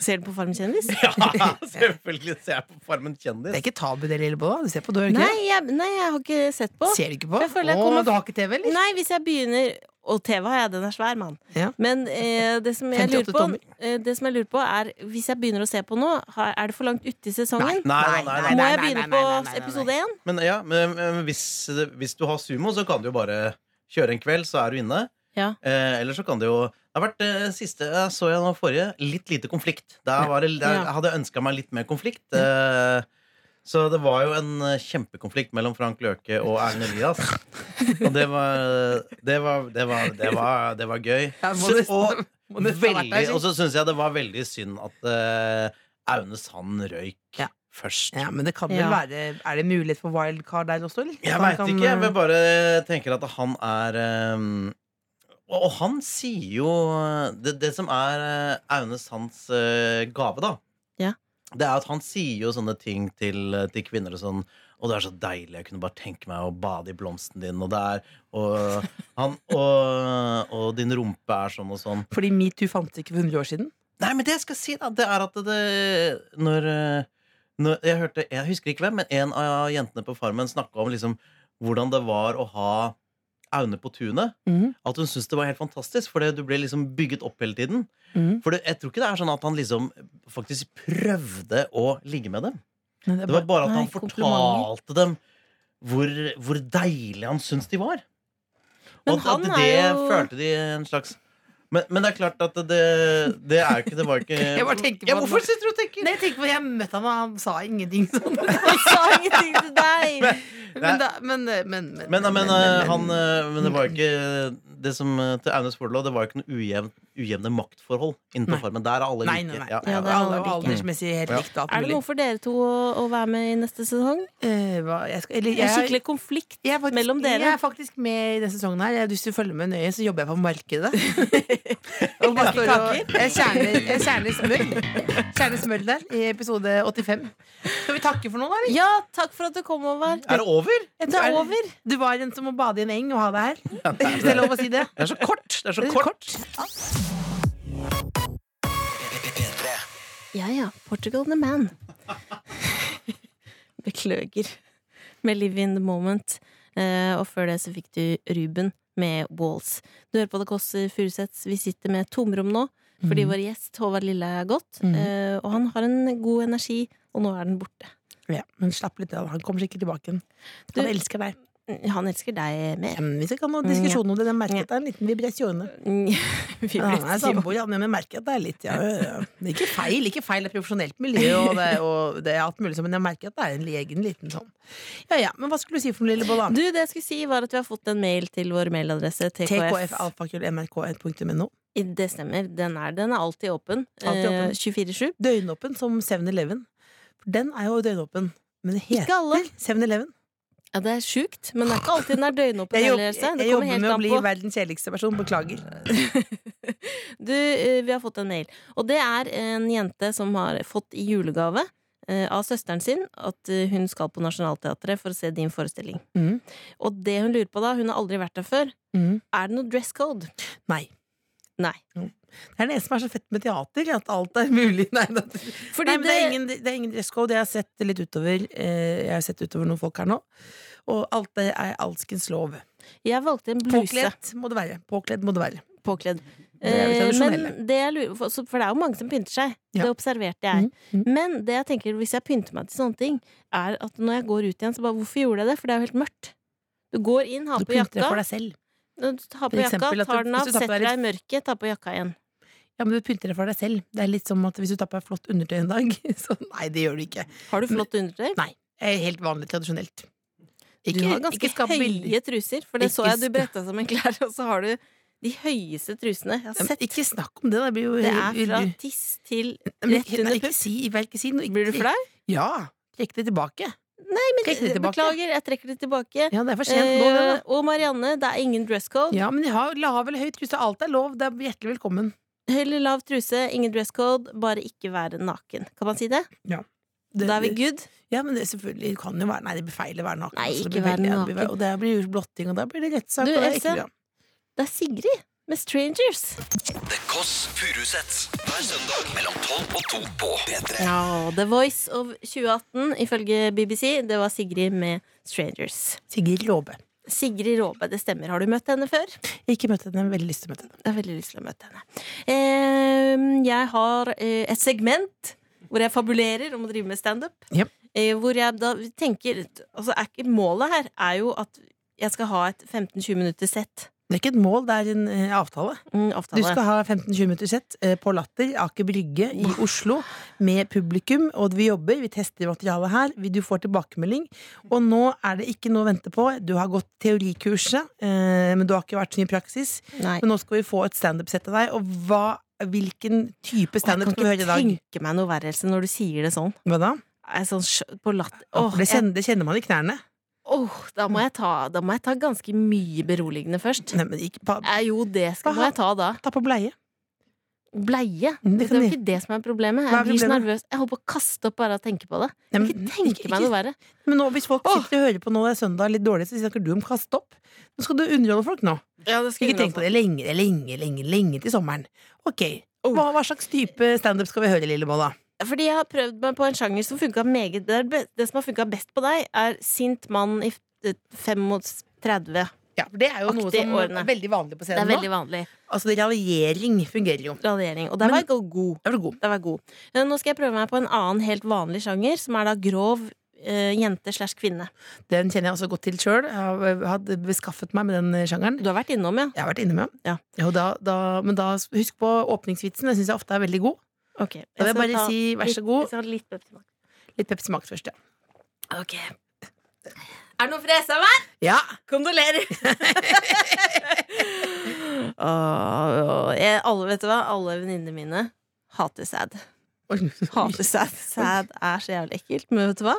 Speaker 2: Ser du på Farm kjendis?
Speaker 6: ja, selvfølgelig ser jeg på Farmen
Speaker 3: Det
Speaker 6: kjendis.
Speaker 3: er ikke tabu, det, Lillebo. da. Du ser på, du, gjør du
Speaker 2: Nei
Speaker 3: ikke?
Speaker 2: jeg, nei, jeg har ikke sett på.
Speaker 3: det? Ser du ikke på?
Speaker 2: Jeg føler jeg
Speaker 3: Å,
Speaker 2: kommer-
Speaker 3: du har ikke TV, eller?
Speaker 2: Nei, hvis jeg begynner Og TV har jeg, den er svær, mann.
Speaker 3: Ja.
Speaker 2: Men eh, det, som jeg lurer
Speaker 3: 58
Speaker 2: på,
Speaker 3: tommer.
Speaker 2: eh, det som jeg lurer på, er Hvis jeg begynner å se på nå, har- er det for langt ute i sesongen?
Speaker 6: Nei, nei,
Speaker 2: Må
Speaker 3: nei,
Speaker 6: nei,
Speaker 2: jeg
Speaker 3: nei,
Speaker 2: begynne
Speaker 3: nei, nei, nei,
Speaker 2: på
Speaker 3: nei, nei.
Speaker 2: episode én?
Speaker 6: Men, ja, men, men hvis, hvis du har sumo, så kan du jo bare kjøre en kveld, så er du inne.
Speaker 2: Ja.
Speaker 6: Eh, eller så kan det jo Det har vært eh, siste jeg så jeg nå forrige, litt lite konflikt. Der, var det, der
Speaker 2: Ja.
Speaker 6: hadde jeg ønska meg litt mer konflikt. Eh, så det var jo en eh, kjempekonflikt mellom Frank Løke og Erlend Elias. Og det var Det var, det var, det var, det var gøy.
Speaker 3: Jeg må
Speaker 6: Så-
Speaker 3: nesten-
Speaker 6: og
Speaker 3: må nesten ha vært der,
Speaker 6: Veldig, altså-
Speaker 3: sikkert.
Speaker 6: og så syns jeg det var veldig synd at eh, Aune Sand røyk
Speaker 3: Ja.
Speaker 6: først.
Speaker 3: Ja, men det kan vel
Speaker 2: Ja.
Speaker 3: være Er det mulighet for wildcard der også, eller?
Speaker 6: Jeg
Speaker 3: At han
Speaker 6: veit
Speaker 3: kan,
Speaker 6: ikke. Jeg
Speaker 3: eh,
Speaker 6: vil bare tenker at han er eh, og, og han sier jo Det, det som er eh, Aune Sands eh, gave, da.
Speaker 2: Ja.
Speaker 6: Det er at han sier jo sånne ting til, til kvinner og sånn Og det er så deilig. Jeg kunne bare tenke meg å bade i blomsten din. Og det er Og, han, og, og din rumpe er sånn og sånn.
Speaker 3: Fordi metoo fantes ikke for 100 år siden.
Speaker 6: Nei, men det jeg skal si, da, det er at det Når, eh, når jeg hørte Jeg husker ikke hvem, men en av jentene på Farmen snakka om liksom hvordan det var å ha Aune på tunet.
Speaker 3: Mhm.
Speaker 6: At hun syntes det var helt fantastisk, for det- du ble liksom bygget opp hele tiden.
Speaker 3: Mhm.
Speaker 6: For det, jeg tror ikke det er sånn at han liksom faktisk prøvde å ligge med dem.
Speaker 3: Men
Speaker 6: Det var bare at
Speaker 2: Nei,
Speaker 6: han
Speaker 2: komplimenter.
Speaker 6: fortalte dem hvor, hvor deilig han syntes de var.
Speaker 2: Men
Speaker 6: Og at, at
Speaker 2: han er
Speaker 6: det
Speaker 2: jo-
Speaker 6: følte de en slags men, men det er klart at det, det er ikke Det var ikke
Speaker 3: Jeg bare tenker på
Speaker 6: ja,
Speaker 3: han nå.
Speaker 6: Hvorfor sitter du og tenker?
Speaker 3: Nei, jeg tenker på Jeg møtte han, og han sa ingenting sånn.
Speaker 2: Han sa ingenting til deg!
Speaker 3: Men, da, men, men, men,
Speaker 6: Men, men, eh, han,
Speaker 3: men-
Speaker 6: eh, men det var jo ikke Det som eh, til Aunes fordel også, Det var jo ikke noe ujevn, ujevne maktforhold innenfor
Speaker 3: Nei.
Speaker 6: farmen. Der er alle
Speaker 3: Nei,
Speaker 6: like.
Speaker 3: nei, nei.
Speaker 6: Ja,
Speaker 2: Ja,
Speaker 6: ja,
Speaker 2: det er
Speaker 6: ja.
Speaker 3: Alle
Speaker 2: han
Speaker 3: var
Speaker 2: ikke.
Speaker 3: aldersmessig helt
Speaker 6: Ja.
Speaker 3: likt. Alt
Speaker 2: Er det
Speaker 3: mulig.
Speaker 2: noe for dere to å, å være med i neste sesong?
Speaker 3: Eh, hva- jeg skal, eller,
Speaker 2: En
Speaker 3: jeg,
Speaker 2: skikkelig konflikt
Speaker 3: jeg er faktisk,
Speaker 2: mellom dere?
Speaker 3: Jeg er faktisk med i denne sesongen her. Jeg, hvis du følger med nøye, så jobber jeg på markedet. og bare står og jeg kjerner, jeg kjerner smør. Kjerner smør der i episode 85. Skal vi takke for noe, da? eller?
Speaker 2: Ja, takk for at du kom, Håvard.
Speaker 6: Er det over?
Speaker 2: Det er over.
Speaker 3: Du var en som må bade i en eng og ha deg her. Hvis det er lov å si det.
Speaker 6: Det er så kort! Det er så
Speaker 3: Det er
Speaker 6: kort.
Speaker 2: Ja ja, Portugal the man. Beklager. Med Live in the moment. Eh, og før det så fikk du Ruben med Walls. Du hører på Det Kåss Furuseths. Vi sitter med tomrom nå,
Speaker 6: Mhm.
Speaker 2: fordi vår gjest Håvard Lille er gått.
Speaker 3: Mhm.
Speaker 2: Eh, og han har en god energi, og nå er den borte.
Speaker 3: Ja, men slapp litt av. Han kommer sikkert tilbake igjen.
Speaker 2: Du-
Speaker 3: Han elsker deg.
Speaker 2: Han elsker deg
Speaker 3: Ja,
Speaker 2: mer.
Speaker 3: men vi skal ikke ha noen diskusjon om det. Den merket er en liten vibrasjone.
Speaker 2: Vi
Speaker 3: Men Han
Speaker 2: ble
Speaker 3: er samboer, han, men merker at det er litt ja, ja, ja. Det er Ikke feil, ikke feil. Det er profesjonelt miljø, og det, og det er alt mulig sånn, men jeg merker at det er en egen liten sånn. Ja ja, men hva skulle du si for noe, lille Bolla?
Speaker 2: Du, det jeg skulle si var at vi har fått en mail til vår mailadresse TKF.
Speaker 3: tkfalfakrøllmrk1.no.
Speaker 2: Det stemmer. Den er, den er alltid åpen.
Speaker 3: Alltid åpen.
Speaker 2: Eh, 24-7.
Speaker 3: Døgnåpen som 7-Eleven. For den er jo døgnåpen. Men det
Speaker 2: Ikke
Speaker 3: heter
Speaker 2: alle.
Speaker 3: 7-Eleven.
Speaker 2: Ja, det er sjukt, men det er ikke alltid den er døgnåpen.
Speaker 3: Jeg, jobb,
Speaker 2: heller, Else. Det
Speaker 3: jeg
Speaker 2: kommer
Speaker 3: jobber
Speaker 2: helt
Speaker 3: med å
Speaker 2: an
Speaker 3: bli
Speaker 2: på.
Speaker 3: verdens kjedeligste person. Beklager.
Speaker 2: Du, eh, vi har fått en mail, og det er en jente som har fått i julegave eh, av søsteren sin at eh, hun skal på Nationaltheatret for å se din forestilling.
Speaker 3: Mm.
Speaker 2: Og det hun lurer på da, hun har aldri vært der før,
Speaker 3: Mm.
Speaker 2: er det noe dress code?
Speaker 3: Nei. Mm.
Speaker 2: Nei.
Speaker 3: Det er det som er så fett med teater, at alt er mulig. Nei, da.
Speaker 2: Fordi
Speaker 3: Nei, men det, er ingen, det er ingen dresscode. Jeg har sett litt utover eh, Jeg har sett utover noen folk her nå. Og alt det er alskens lov.
Speaker 2: jeg valgte en bluse.
Speaker 3: Påkledd må det være. Påkledd må det være.
Speaker 2: påkledd.
Speaker 3: Det er jo
Speaker 2: Eh,
Speaker 3: tradisjonelle.
Speaker 2: Men det jeg lurer, for, så- for det er jo mange som pynter seg.
Speaker 3: Ja.
Speaker 2: Det observerte jeg.
Speaker 3: Mhm,
Speaker 2: Men det jeg tenker hvis jeg pynter meg til sånne ting, er at når jeg går ut igjen, så bare hvorfor gjorde jeg det? For det er jo helt mørkt. Du går inn, har
Speaker 3: Du
Speaker 2: på
Speaker 3: pynter deg
Speaker 2: jakka,
Speaker 3: for deg selv.
Speaker 2: du tar på
Speaker 3: For eksempel
Speaker 2: jakka,
Speaker 3: at
Speaker 2: tar
Speaker 3: du-
Speaker 2: den
Speaker 3: hvis
Speaker 2: av,
Speaker 3: du tar på
Speaker 2: setter
Speaker 3: deg
Speaker 2: deg i mørket, tar på jakka igjen.
Speaker 3: Ja, men du pynter deg for deg selv. Det er litt som at hvis du tar på deg flott undertøy en dag, så nei, det gjør du ikke.
Speaker 2: Har du flott undertøy?
Speaker 3: Nei. Det er Helt vanlig, tradisjonelt.
Speaker 2: Du har ganske
Speaker 3: skap bilder.
Speaker 2: høye truser, for det så
Speaker 3: Ikke
Speaker 2: jeg du
Speaker 3: sk-
Speaker 2: bretta som en klær, og så har du de høyeste trusene jeg har
Speaker 3: Ja, men
Speaker 2: sett.
Speaker 3: Ikke snakk om det. Det blir jo
Speaker 2: Det er fra tiss til
Speaker 3: Men
Speaker 2: rett
Speaker 3: ikke- nei,
Speaker 2: under
Speaker 3: Ikke
Speaker 2: pupp.
Speaker 3: si, ikke si noe.
Speaker 2: Blir du flau?
Speaker 3: Ja. Trekk det tilbake. Trekk det tilbake.
Speaker 2: Beklager, jeg trekker det tilbake.
Speaker 3: Ja, det er for sent nå, det, da.
Speaker 2: Eh, og Marianne, det er ingen dress code.
Speaker 3: Ja, men jeg har lav eller høy truse. Alt er lov. Det er hjertelig velkommen.
Speaker 2: Høy eller lav truse, ingen dress code, bare ikke være naken. Kan man si det?
Speaker 3: Det,
Speaker 2: da er vi good.
Speaker 3: Ja, men det selvfølgelig kan jo være Nei, det blir feil å være naken.
Speaker 2: Nei,
Speaker 3: altså, det
Speaker 2: ikke
Speaker 3: blir
Speaker 2: være
Speaker 3: veldig- ja, det blir-
Speaker 2: naken.
Speaker 3: Og det blir jo blotting, og da blir det rettssak.
Speaker 2: Du,
Speaker 3: og det er ikke
Speaker 2: Else.
Speaker 3: bra.
Speaker 2: Det er Sigrid med Strangers.
Speaker 1: The Kåss Furuseths. Hver søndag mellom 12 og 2 på P3.
Speaker 2: Ja, The Voice of 2018 ifølge BBC. Det var Sigrid med Strangers.
Speaker 3: Sigrid Råbe.
Speaker 2: Sigrid Råbe, det stemmer. Har du møtt henne før?
Speaker 3: Ikke møtt henne, men veldig lyst til å møte henne.
Speaker 2: Jeg har veldig lyst til å møte henne. Eh, jeg har eh, et segment hvor jeg fabulerer om å drive med standup.
Speaker 3: Jep.
Speaker 2: Eh, hvor jeg da tenker altså, er ikke, Målet her er jo at jeg skal ha et 15-20 minutter sett.
Speaker 3: Det er ikke et mål, det er en eh, avtale.
Speaker 2: Mm,
Speaker 3: Du
Speaker 2: avtale.
Speaker 3: skal ha 15-20 minutter sett eh, på Latter, Aker Brygge i Oslo, med publikum. Og vi jobber, vi tester materialet her, vi, du får tilbakemelding. Og nå er det ikke noe å vente på. Du har gått teorikurset, eh, men du har ikke vært så mye i praksis.
Speaker 2: Nei.
Speaker 3: Men nå skal vi få et standup-sett av deg, og hva, hvilken type
Speaker 2: Åh, Jeg
Speaker 3: standup
Speaker 2: kan
Speaker 3: skal vi høre i
Speaker 2: ikke
Speaker 3: dag?
Speaker 2: tenke meg noe verre Else, når du sier det sånn.
Speaker 3: Hva da?
Speaker 2: Jeg er sånn sj- på latter.
Speaker 3: Åh,
Speaker 2: Åh,
Speaker 3: det,
Speaker 2: jeg,
Speaker 3: kjenner, det kjenner man i knærne.
Speaker 2: åh, da, må jeg ta, da må jeg ta ganske mye beroligende først.
Speaker 3: Nei, men ikke, pa,
Speaker 2: Eh, jo, det skal, må jeg ta da.
Speaker 3: ta på bleie.
Speaker 2: Bleie. Det
Speaker 3: Mm, det
Speaker 2: er
Speaker 3: kan
Speaker 2: jo
Speaker 3: du-
Speaker 2: ikke det som er problemet.
Speaker 3: Hva
Speaker 2: Jeg
Speaker 3: er
Speaker 2: blir så
Speaker 3: problemet?
Speaker 2: nervøs. Jeg holder på å kaste opp bare av å tenke på det.
Speaker 3: Nei,
Speaker 2: Jeg
Speaker 3: men
Speaker 2: kan ikke tenke meg noe verre.
Speaker 3: Men nå, hvis folk
Speaker 2: Åh.
Speaker 3: sitter og hører på nå det er søndag litt dårlig, så snakker du om kast opp. Nå skal du underholde folk nå. Ikke tenk på det lenge, lenge, lenge, lenge til sommeren. Ok, hva, hva slags type standup skal vi høre, Lillebolla?
Speaker 2: Fordi jeg har prøvd meg på en sjanger som funka meget Det, er be- det som har funka best på deg, er sint mann i f- eh, 35.
Speaker 3: Ja, for det er jo noe
Speaker 2: Aktig
Speaker 3: som
Speaker 2: årene.
Speaker 3: er veldig vanlig på
Speaker 2: Det
Speaker 3: scenen
Speaker 2: er veldig
Speaker 3: nå.
Speaker 2: vanlig.
Speaker 3: Altså, raljering fungerer jo.
Speaker 2: Radiering. Og der var
Speaker 3: Men-
Speaker 2: jeg go- god.
Speaker 3: Det er vel god.
Speaker 2: Der var jeg god. Eh, Nå skal jeg prøve meg på en annen helt vanlig sjanger, som er da grov eh, jente slash kvinne.
Speaker 3: Den kjenner jeg også godt til sjøl. Jeg har- hadde beskaffet meg med den eh, sjangeren.
Speaker 2: Du har vært innom, ja?
Speaker 3: Jeg har vært inne med
Speaker 2: Ja.
Speaker 3: Jo, da, da, Men da husk på åpningsvitsen. Den syns jeg ofte er veldig god.
Speaker 2: Ok. Jeg
Speaker 3: Da vil jeg
Speaker 2: skal
Speaker 3: bare
Speaker 2: ta
Speaker 3: si vær så
Speaker 2: litt- jeg
Speaker 3: god.
Speaker 2: skal ha litt Pepsi Max.
Speaker 3: Litt Pepsi Max først, ja.
Speaker 2: Ok. Er det noe fresa meg?
Speaker 3: Ja!
Speaker 2: Kondolerer! Åh, jeg, alle, vet du hva? Alle venninnene mine hater sæd.
Speaker 3: Oi.
Speaker 2: Hater sæd. Sæd er så jævlig ekkelt, men vet du hva?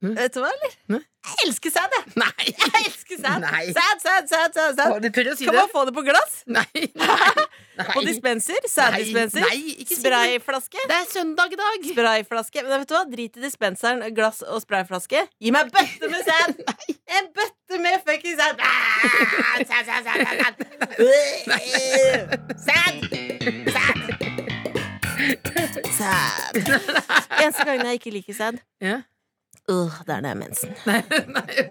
Speaker 3: Mm.
Speaker 2: Vet du hva, eller?
Speaker 3: Nei.
Speaker 2: Jeg elsker sæd, jeg!
Speaker 3: Nei!
Speaker 2: Jeg elsker sæd!
Speaker 3: Nei.
Speaker 2: Sæd, sæd, sæd, sæd, sæd.
Speaker 3: Å, Du tør å si
Speaker 2: Kan
Speaker 3: det?
Speaker 2: man få det på glass?
Speaker 3: Nei!
Speaker 2: På dispenser? Sæddispenser?
Speaker 3: Nei, ikke si det.
Speaker 2: Sprayflaske?
Speaker 3: Det er søndag i dag!
Speaker 2: Sprayflaske. Men vet du hva? Drit i dispenseren, glass og sprayflaske. Gi meg bøtte med sæd! En bøtte med fucking sæd! Ah, Sæd, sæd, sæd, sæd, sæd. Sæd! Sæd! Sæd. Eneste gangen jeg ikke liker sæd,
Speaker 3: Ja.
Speaker 2: Øh, det er når jeg har mensen.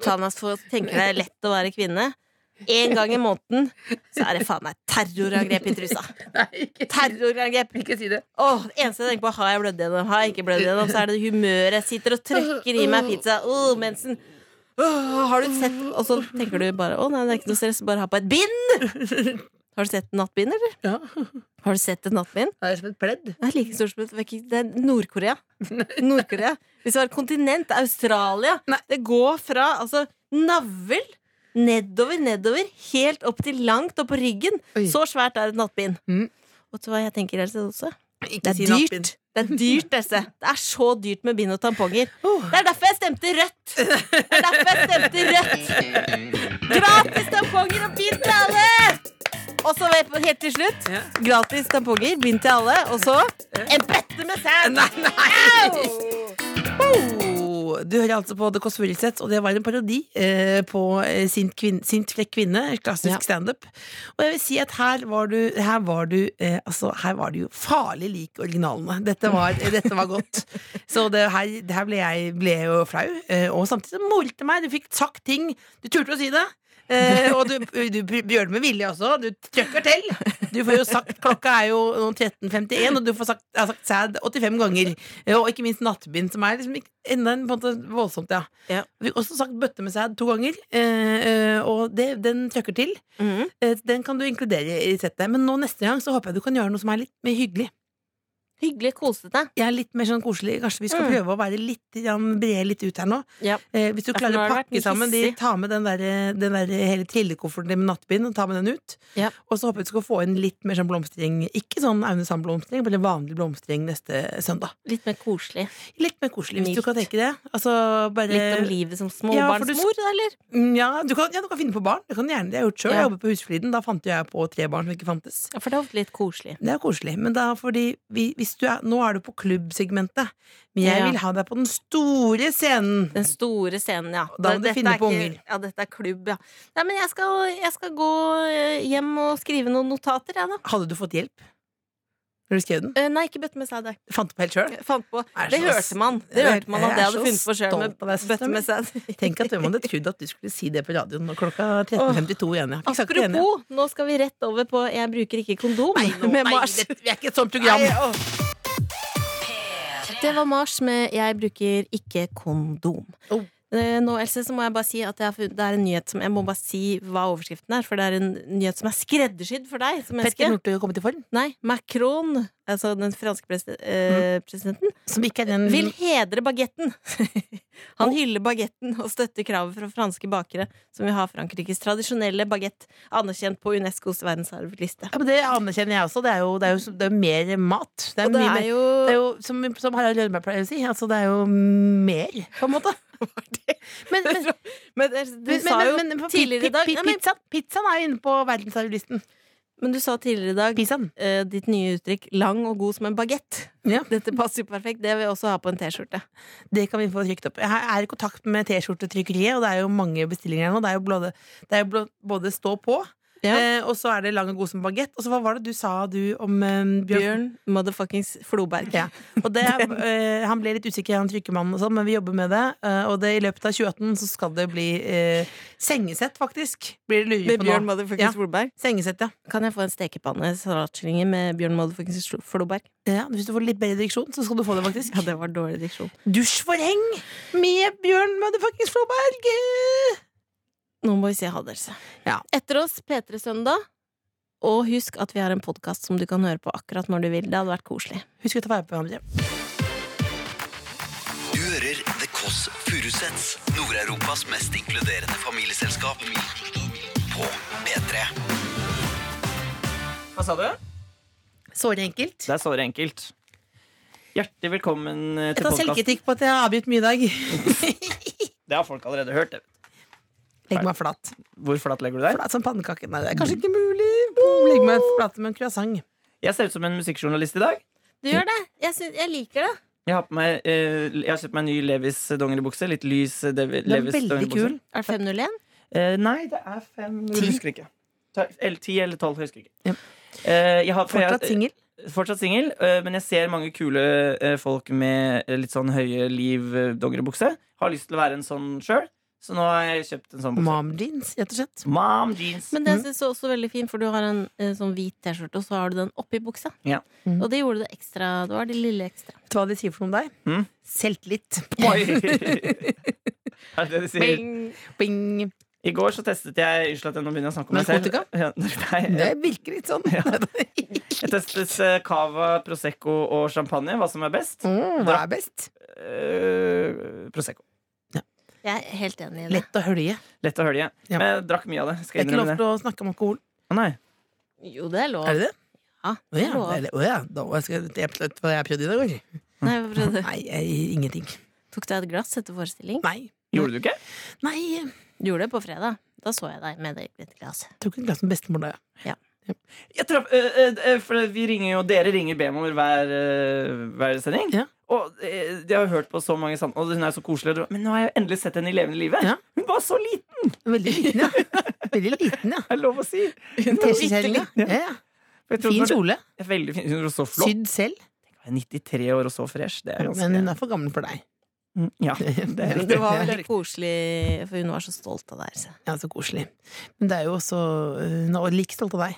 Speaker 2: Tanas får tenke det er lett å være kvinne. En gang i måneden så er det faen meg terrorangrep i trusa.
Speaker 3: Nei, ikke,
Speaker 2: Terrorangrep
Speaker 3: ikke si det.
Speaker 2: Åh, det eneste jeg tenker på, har jeg blødd gjennom? Har jeg ikke blødd gjennom? Så er det humøret. Sitter og trøkker i meg pizza. Åh, mensen. Åh, har du sett Og så tenker du bare å nei, det er ikke noe stress, bare ha på et bind! Har du sett et nattbind, eller?
Speaker 3: Ja.
Speaker 2: Har du sett et nattbind?
Speaker 3: Det er som et pledd.
Speaker 2: Det er like stort som et det er ikke- Det er Nord-Korea. Nord-Korea. Hvis det var et kontinent, Australia
Speaker 3: Nei.
Speaker 2: Det går fra altså, navl nedover, nedover, helt opp til langt opp på ryggen.
Speaker 3: Oi.
Speaker 2: Så svært er et nattbind.
Speaker 3: Mm.
Speaker 2: Vet du hva jeg tenker, Else, også?
Speaker 3: Ikke
Speaker 2: Det er dyrt. Det er dyrt, Else. Det er så dyrt med bind og tamponger.
Speaker 3: Åh.
Speaker 2: Det er derfor jeg stemte rødt! Det er derfor jeg stemte rødt! Gratis tamponger og bind til alle! Og så vet- helt til slutt
Speaker 3: Ja.
Speaker 2: gratis tamponger, bind til alle, og så en bøtte med sæd!
Speaker 3: Nei, nei!
Speaker 2: Au!
Speaker 3: Oh, Du hører altså på The Kåss Furuseth, og det var en parodi eh, på eh, Sint, kvinn, sint flekk kvinne, klassisk
Speaker 2: Ja.
Speaker 3: standup. Og jeg vil si at her var du, her var du eh, Altså, her var du jo farlig lik originalene. Dette var, eh, dette var godt. Så det her, det her ble jeg ble jeg jo flau, eh, og samtidig så molte meg. Du fikk sagt ting. Du turte å si det. Eh, og du, du gjør det med vilje også. Du trøkker til. Du får jo sagt Klokka er jo nå 13.51, og du får sagt, jeg har sagt sad 85 ganger. Eh, Og ikke minst nattbind, som er liksom ikke- enda en på en måte voldsomt, ja.
Speaker 2: Ja.
Speaker 3: Vi har også sagt bøtte med sæd to ganger, eh, eh, og det, den trøkker til.
Speaker 2: Mhm.
Speaker 3: Eh, Den kan du inkludere i settet. Men nå neste gang så håper jeg du kan gjøre noe som er litt mer hyggelig.
Speaker 2: Hyggelig kosete.
Speaker 3: Jeg er litt mer sånn koselig. Kanskje vi skal
Speaker 2: Mm.
Speaker 3: prøve å være litt grann bre litt ut her nå.
Speaker 2: Ja.
Speaker 3: Eh, hvis du
Speaker 2: Ja, for
Speaker 3: klarer
Speaker 2: nå har
Speaker 3: å
Speaker 2: det vært
Speaker 3: pakke
Speaker 2: mye
Speaker 3: sammen de,
Speaker 2: hissig.
Speaker 3: ta med den der, den der hele trillekofferten din med nattbind, og ta med den ut.
Speaker 2: Ja.
Speaker 3: Og så håper jeg du skal få inn litt mer sånn blomstring. Ikke sånn Aune Sand-blomstring, men vanlig blomstring neste søndag.
Speaker 2: Litt mer koselig.
Speaker 3: Litt mer koselig, hvis
Speaker 2: Mildt.
Speaker 3: du kan tenke det. Altså, bare,
Speaker 2: Litt om livet som
Speaker 3: ja, for du-
Speaker 2: småbarnsmor, eller?
Speaker 3: Mm, Ja, du kan, ja, du kan finne på barn. Det kan du gjerne. Det har jeg gjort sjøl.
Speaker 2: Ja.
Speaker 3: Jeg jobbet på Husfliden. Da fant jo jeg på tre barn som ikke fantes.
Speaker 2: Ja, for det er ofte litt koselig.
Speaker 3: Det er koselig, men da fordi vi, hvis du er, Nå er du på klubbsegmentet, men jeg
Speaker 2: Ja.
Speaker 3: vil ha deg på den store scenen.
Speaker 2: Den store scenen, ja.
Speaker 3: Da må du
Speaker 2: Dette
Speaker 3: finne
Speaker 2: er
Speaker 3: på
Speaker 2: ikke-
Speaker 3: unger.
Speaker 2: Ja, dette er klubb, ja. Nei, men jeg skal, jeg skal gå eh, hjem og skrive noen notater, jeg, da.
Speaker 3: Hadde du fått hjelp når du skrev den?
Speaker 2: Eh, Nei, ikke bøtte med sæd. jeg.
Speaker 3: Fant du på helt sjøl?
Speaker 2: Jeg Fant på.
Speaker 3: Er
Speaker 2: Det
Speaker 3: så-
Speaker 2: hørte man. Det hørte man
Speaker 3: Jeg
Speaker 2: at
Speaker 3: er
Speaker 2: jeg hadde
Speaker 3: så
Speaker 2: funnet på sjøl med
Speaker 3: stolt av deg, søster
Speaker 2: bøtte med
Speaker 3: min.
Speaker 2: sæd.
Speaker 3: Tenk at hvem hadde trodd at du skulle si det på radioen når klokka 13.52 igjen. Jeg har ikke sagt det igjen. jeg.
Speaker 2: Apropos, nå skal vi rett over på Jeg bruker ikke kondom
Speaker 3: Nå,
Speaker 2: med
Speaker 3: nei,
Speaker 2: Mars.
Speaker 3: det- Vi er ikke et sånt program.
Speaker 2: Det var Mars med 'Jeg bruker ikke kondom'.
Speaker 3: Oh.
Speaker 2: Eh, Nå, Else, så må jeg bare si at jeg har funnet, Det er en nyhet som Jeg må bare si hva overskriften er, for det er en nyhet som er skreddersydd for deg som
Speaker 3: Petter
Speaker 2: menneske.
Speaker 3: Northug har kommet i form,
Speaker 2: Nei, Macron, altså den franske presi
Speaker 3: Mm.
Speaker 2: eh, presidenten,
Speaker 3: som ikke er den
Speaker 2: vil hedre bagetten. Han
Speaker 3: Oh.
Speaker 2: hyller bagetten og støtter kravet fra franske bakere, som vil ha Frankrikes tradisjonelle bagett anerkjent på UNESCOs verdensarvliste.
Speaker 3: ja, men Det anerkjenner jeg også. Det er jo, det er jo, det er jo mer mat. Det er,
Speaker 2: Og det
Speaker 3: mye
Speaker 2: er
Speaker 3: mer,
Speaker 2: jo
Speaker 3: det er jo som, som Harald Rønneberg pleier å si, altså det er jo mer, på en måte. Men, men,
Speaker 2: Men eh, du
Speaker 3: men,
Speaker 2: sa jo
Speaker 3: men, men,
Speaker 2: tidligere i dag-
Speaker 3: pi- pi-
Speaker 2: Nei, men-
Speaker 3: pizzaen, pizzaen er jo inne på verdensarvlisten.
Speaker 2: Men du sa tidligere i dag
Speaker 3: Pizzaen.
Speaker 2: eh, ditt nye uttrykk 'lang og god som en bagett'.
Speaker 3: Ja.
Speaker 2: Dette passer jo perfekt. Det vil jeg også ha på en T-skjorte.
Speaker 3: Det kan vi få trykt opp. Jeg er i kontakt med T-skjortetrykkeriet, og det er jo mange bestillinger her nå. Det er jo både, det er jo blå- både stå på,
Speaker 2: Ja.
Speaker 3: eh, og så er det lang og god som bagett. Og så hva var det du sa du om eh, Bjørn?
Speaker 2: Bjørn motherfuckings Floberg.
Speaker 3: Ja. Og det, eh, han ble litt usikker, han trykkemannen og sånn, men vi jobber med det. eh, og det, i løpet av 2018 så skal det bli eh, sengesett, faktisk. Blir det lurer
Speaker 2: Med
Speaker 3: på
Speaker 2: Bjørn
Speaker 3: nå.
Speaker 2: motherfuckings
Speaker 3: Ja.
Speaker 2: Floberg.
Speaker 3: Sengesett, ja.
Speaker 2: Kan jeg få en stekepanne salatskillinger med Bjørn motherfuckings Floberg?
Speaker 3: ja. Hvis du får litt bedre diksjon, så skal du få det, faktisk.
Speaker 2: Ja, det var dårlig diksjon.
Speaker 3: Dusjforheng med Bjørn motherfuckings Floberg!
Speaker 2: Nå må vi si ha det, Else.
Speaker 3: Ja.
Speaker 2: Etter oss P3 Søndag. Og husk at vi har en podkast som du kan høre på akkurat når du vil. Det hadde vært koselig.
Speaker 3: Husk å ta vare på hverandre.
Speaker 1: Du hører The Kåss Furuseths, Nord-Europas mest inkluderende familieselskap. På P3.
Speaker 7: Hva sa du?
Speaker 3: Såre enkelt.
Speaker 7: Det er såre enkelt. Hjertelig velkommen eh,
Speaker 3: Jeg
Speaker 7: til
Speaker 3: tar
Speaker 7: podkasten.
Speaker 3: selvkritikk på at jeg har avbrutt mye i dag.
Speaker 7: Det har folk allerede hørt. det.
Speaker 3: Legg meg flat.
Speaker 7: Hvor flat legger du deg?
Speaker 3: flat som pannekake. Nei, det er kanskje ikke mulig. Boom, Legg meg flat med en croissant.
Speaker 7: Jeg ser ut som en musikkjournalist i dag.
Speaker 2: Du gjør det! Jeg, syn- jeg liker det.
Speaker 7: Jeg har, på meg, eh, jeg har kjøpt meg en ny Levis dongeribukse. Litt lys eh, Devi-
Speaker 3: Du er
Speaker 7: Levis
Speaker 3: veldig
Speaker 7: dongeribukse.
Speaker 3: kul.
Speaker 2: Er det 501?
Speaker 7: Eh, nei, det er fem Jeg husker ikke. Ta- Eller ti eller tolv, jeg husker ikke.
Speaker 3: Ja.
Speaker 7: Eh, jeg har, for jeg-
Speaker 3: Fortsatt singel.
Speaker 7: Fortsatt singel, eh, men jeg ser mange kule eh, folk med eh, litt sånn høye liv eh, dongeribukse. Har lyst til å være en sånn sjøl, så nå har jeg kjøpt en sånn bukse.
Speaker 3: Mom jeans, rett og slett.
Speaker 7: Mom jeans.
Speaker 2: Men det synes jeg også er veldig fint, for du har en eh, sånn hvit T-skjorte, og så har du den oppi buksa.
Speaker 7: Ja.
Speaker 2: Og det gjorde det ekstra. Det var det lille ekstra.
Speaker 3: Vet du hva de sier for noe om deg?
Speaker 7: Mm.
Speaker 3: Selvtillit.
Speaker 7: Oi! er det det de sier?
Speaker 3: Bing.
Speaker 7: I går så testet jeg Unnskyld at jeg nå begynner jeg å snakke om meg selv.
Speaker 3: Narkotika?
Speaker 7: Ja,
Speaker 3: Det
Speaker 7: nei,
Speaker 3: virker litt sånn.
Speaker 7: jeg testet eh, cava, prosecco og champagne. Hva som er best?
Speaker 3: Mm, Hva er best?
Speaker 7: Eh, prosecco.
Speaker 2: Jeg er helt enig i det.
Speaker 3: Lett å hølje.
Speaker 7: Lett å hølje.
Speaker 3: Ja.
Speaker 7: Men jeg drakk mye av det.
Speaker 3: Det
Speaker 7: Skal
Speaker 3: er
Speaker 7: jeg
Speaker 3: ikke lov
Speaker 7: innrømme det?
Speaker 3: til å snakke om alkohol.
Speaker 7: Å, Nei.
Speaker 2: Jo, det er lov.
Speaker 3: Er det det?
Speaker 2: Ja,
Speaker 3: Å
Speaker 2: det er
Speaker 3: ja.
Speaker 2: lov.
Speaker 3: eller- Å ja. Da var jeg skal- jeg prøvde hva jeg prøvde i dag. eller?
Speaker 2: Nei, hva prøvde du?
Speaker 3: Nei, jeg, ingenting.
Speaker 2: Tok deg et glass etter forestilling?
Speaker 3: Nei.
Speaker 7: Gjorde du ikke?
Speaker 3: Nei. jeg
Speaker 2: Du gjorde det på fredag. Da så jeg deg med det i et glass.
Speaker 3: Tok et glass med bestemor da,
Speaker 2: Ja.
Speaker 7: Jeg traff, eh, eh, for vi ringer jo, Dere ringer B-nummer hver, eh, hver sending.
Speaker 3: Ja.
Speaker 7: Og eh, jeg har hørt på så mange sam- Og hun er så koselig. Men nå har jeg endelig sett henne i levende live.
Speaker 3: Ja.
Speaker 7: Hun var så liten!
Speaker 3: Veldig liten, ja. Veldig liten, ja.
Speaker 7: er det lov å si.
Speaker 3: En T-skjorte.
Speaker 7: Ja.
Speaker 3: Ja, ja.
Speaker 7: For jeg trodde
Speaker 3: Fin
Speaker 7: hun var-
Speaker 3: kjole.
Speaker 7: Ja, Veldig fin. Hun var så flott.
Speaker 3: Sydd selv.
Speaker 7: Hun er 93 år og så fresh. Det er ganske
Speaker 3: Men hun er for gammel for deg.
Speaker 7: Mm, Ja, det er
Speaker 2: Det
Speaker 7: riktig.
Speaker 2: var veldig koselig, for hun var så stolt av det her. så.
Speaker 3: Ja, så koselig. Men det er jo også Hun er like stolt av deg.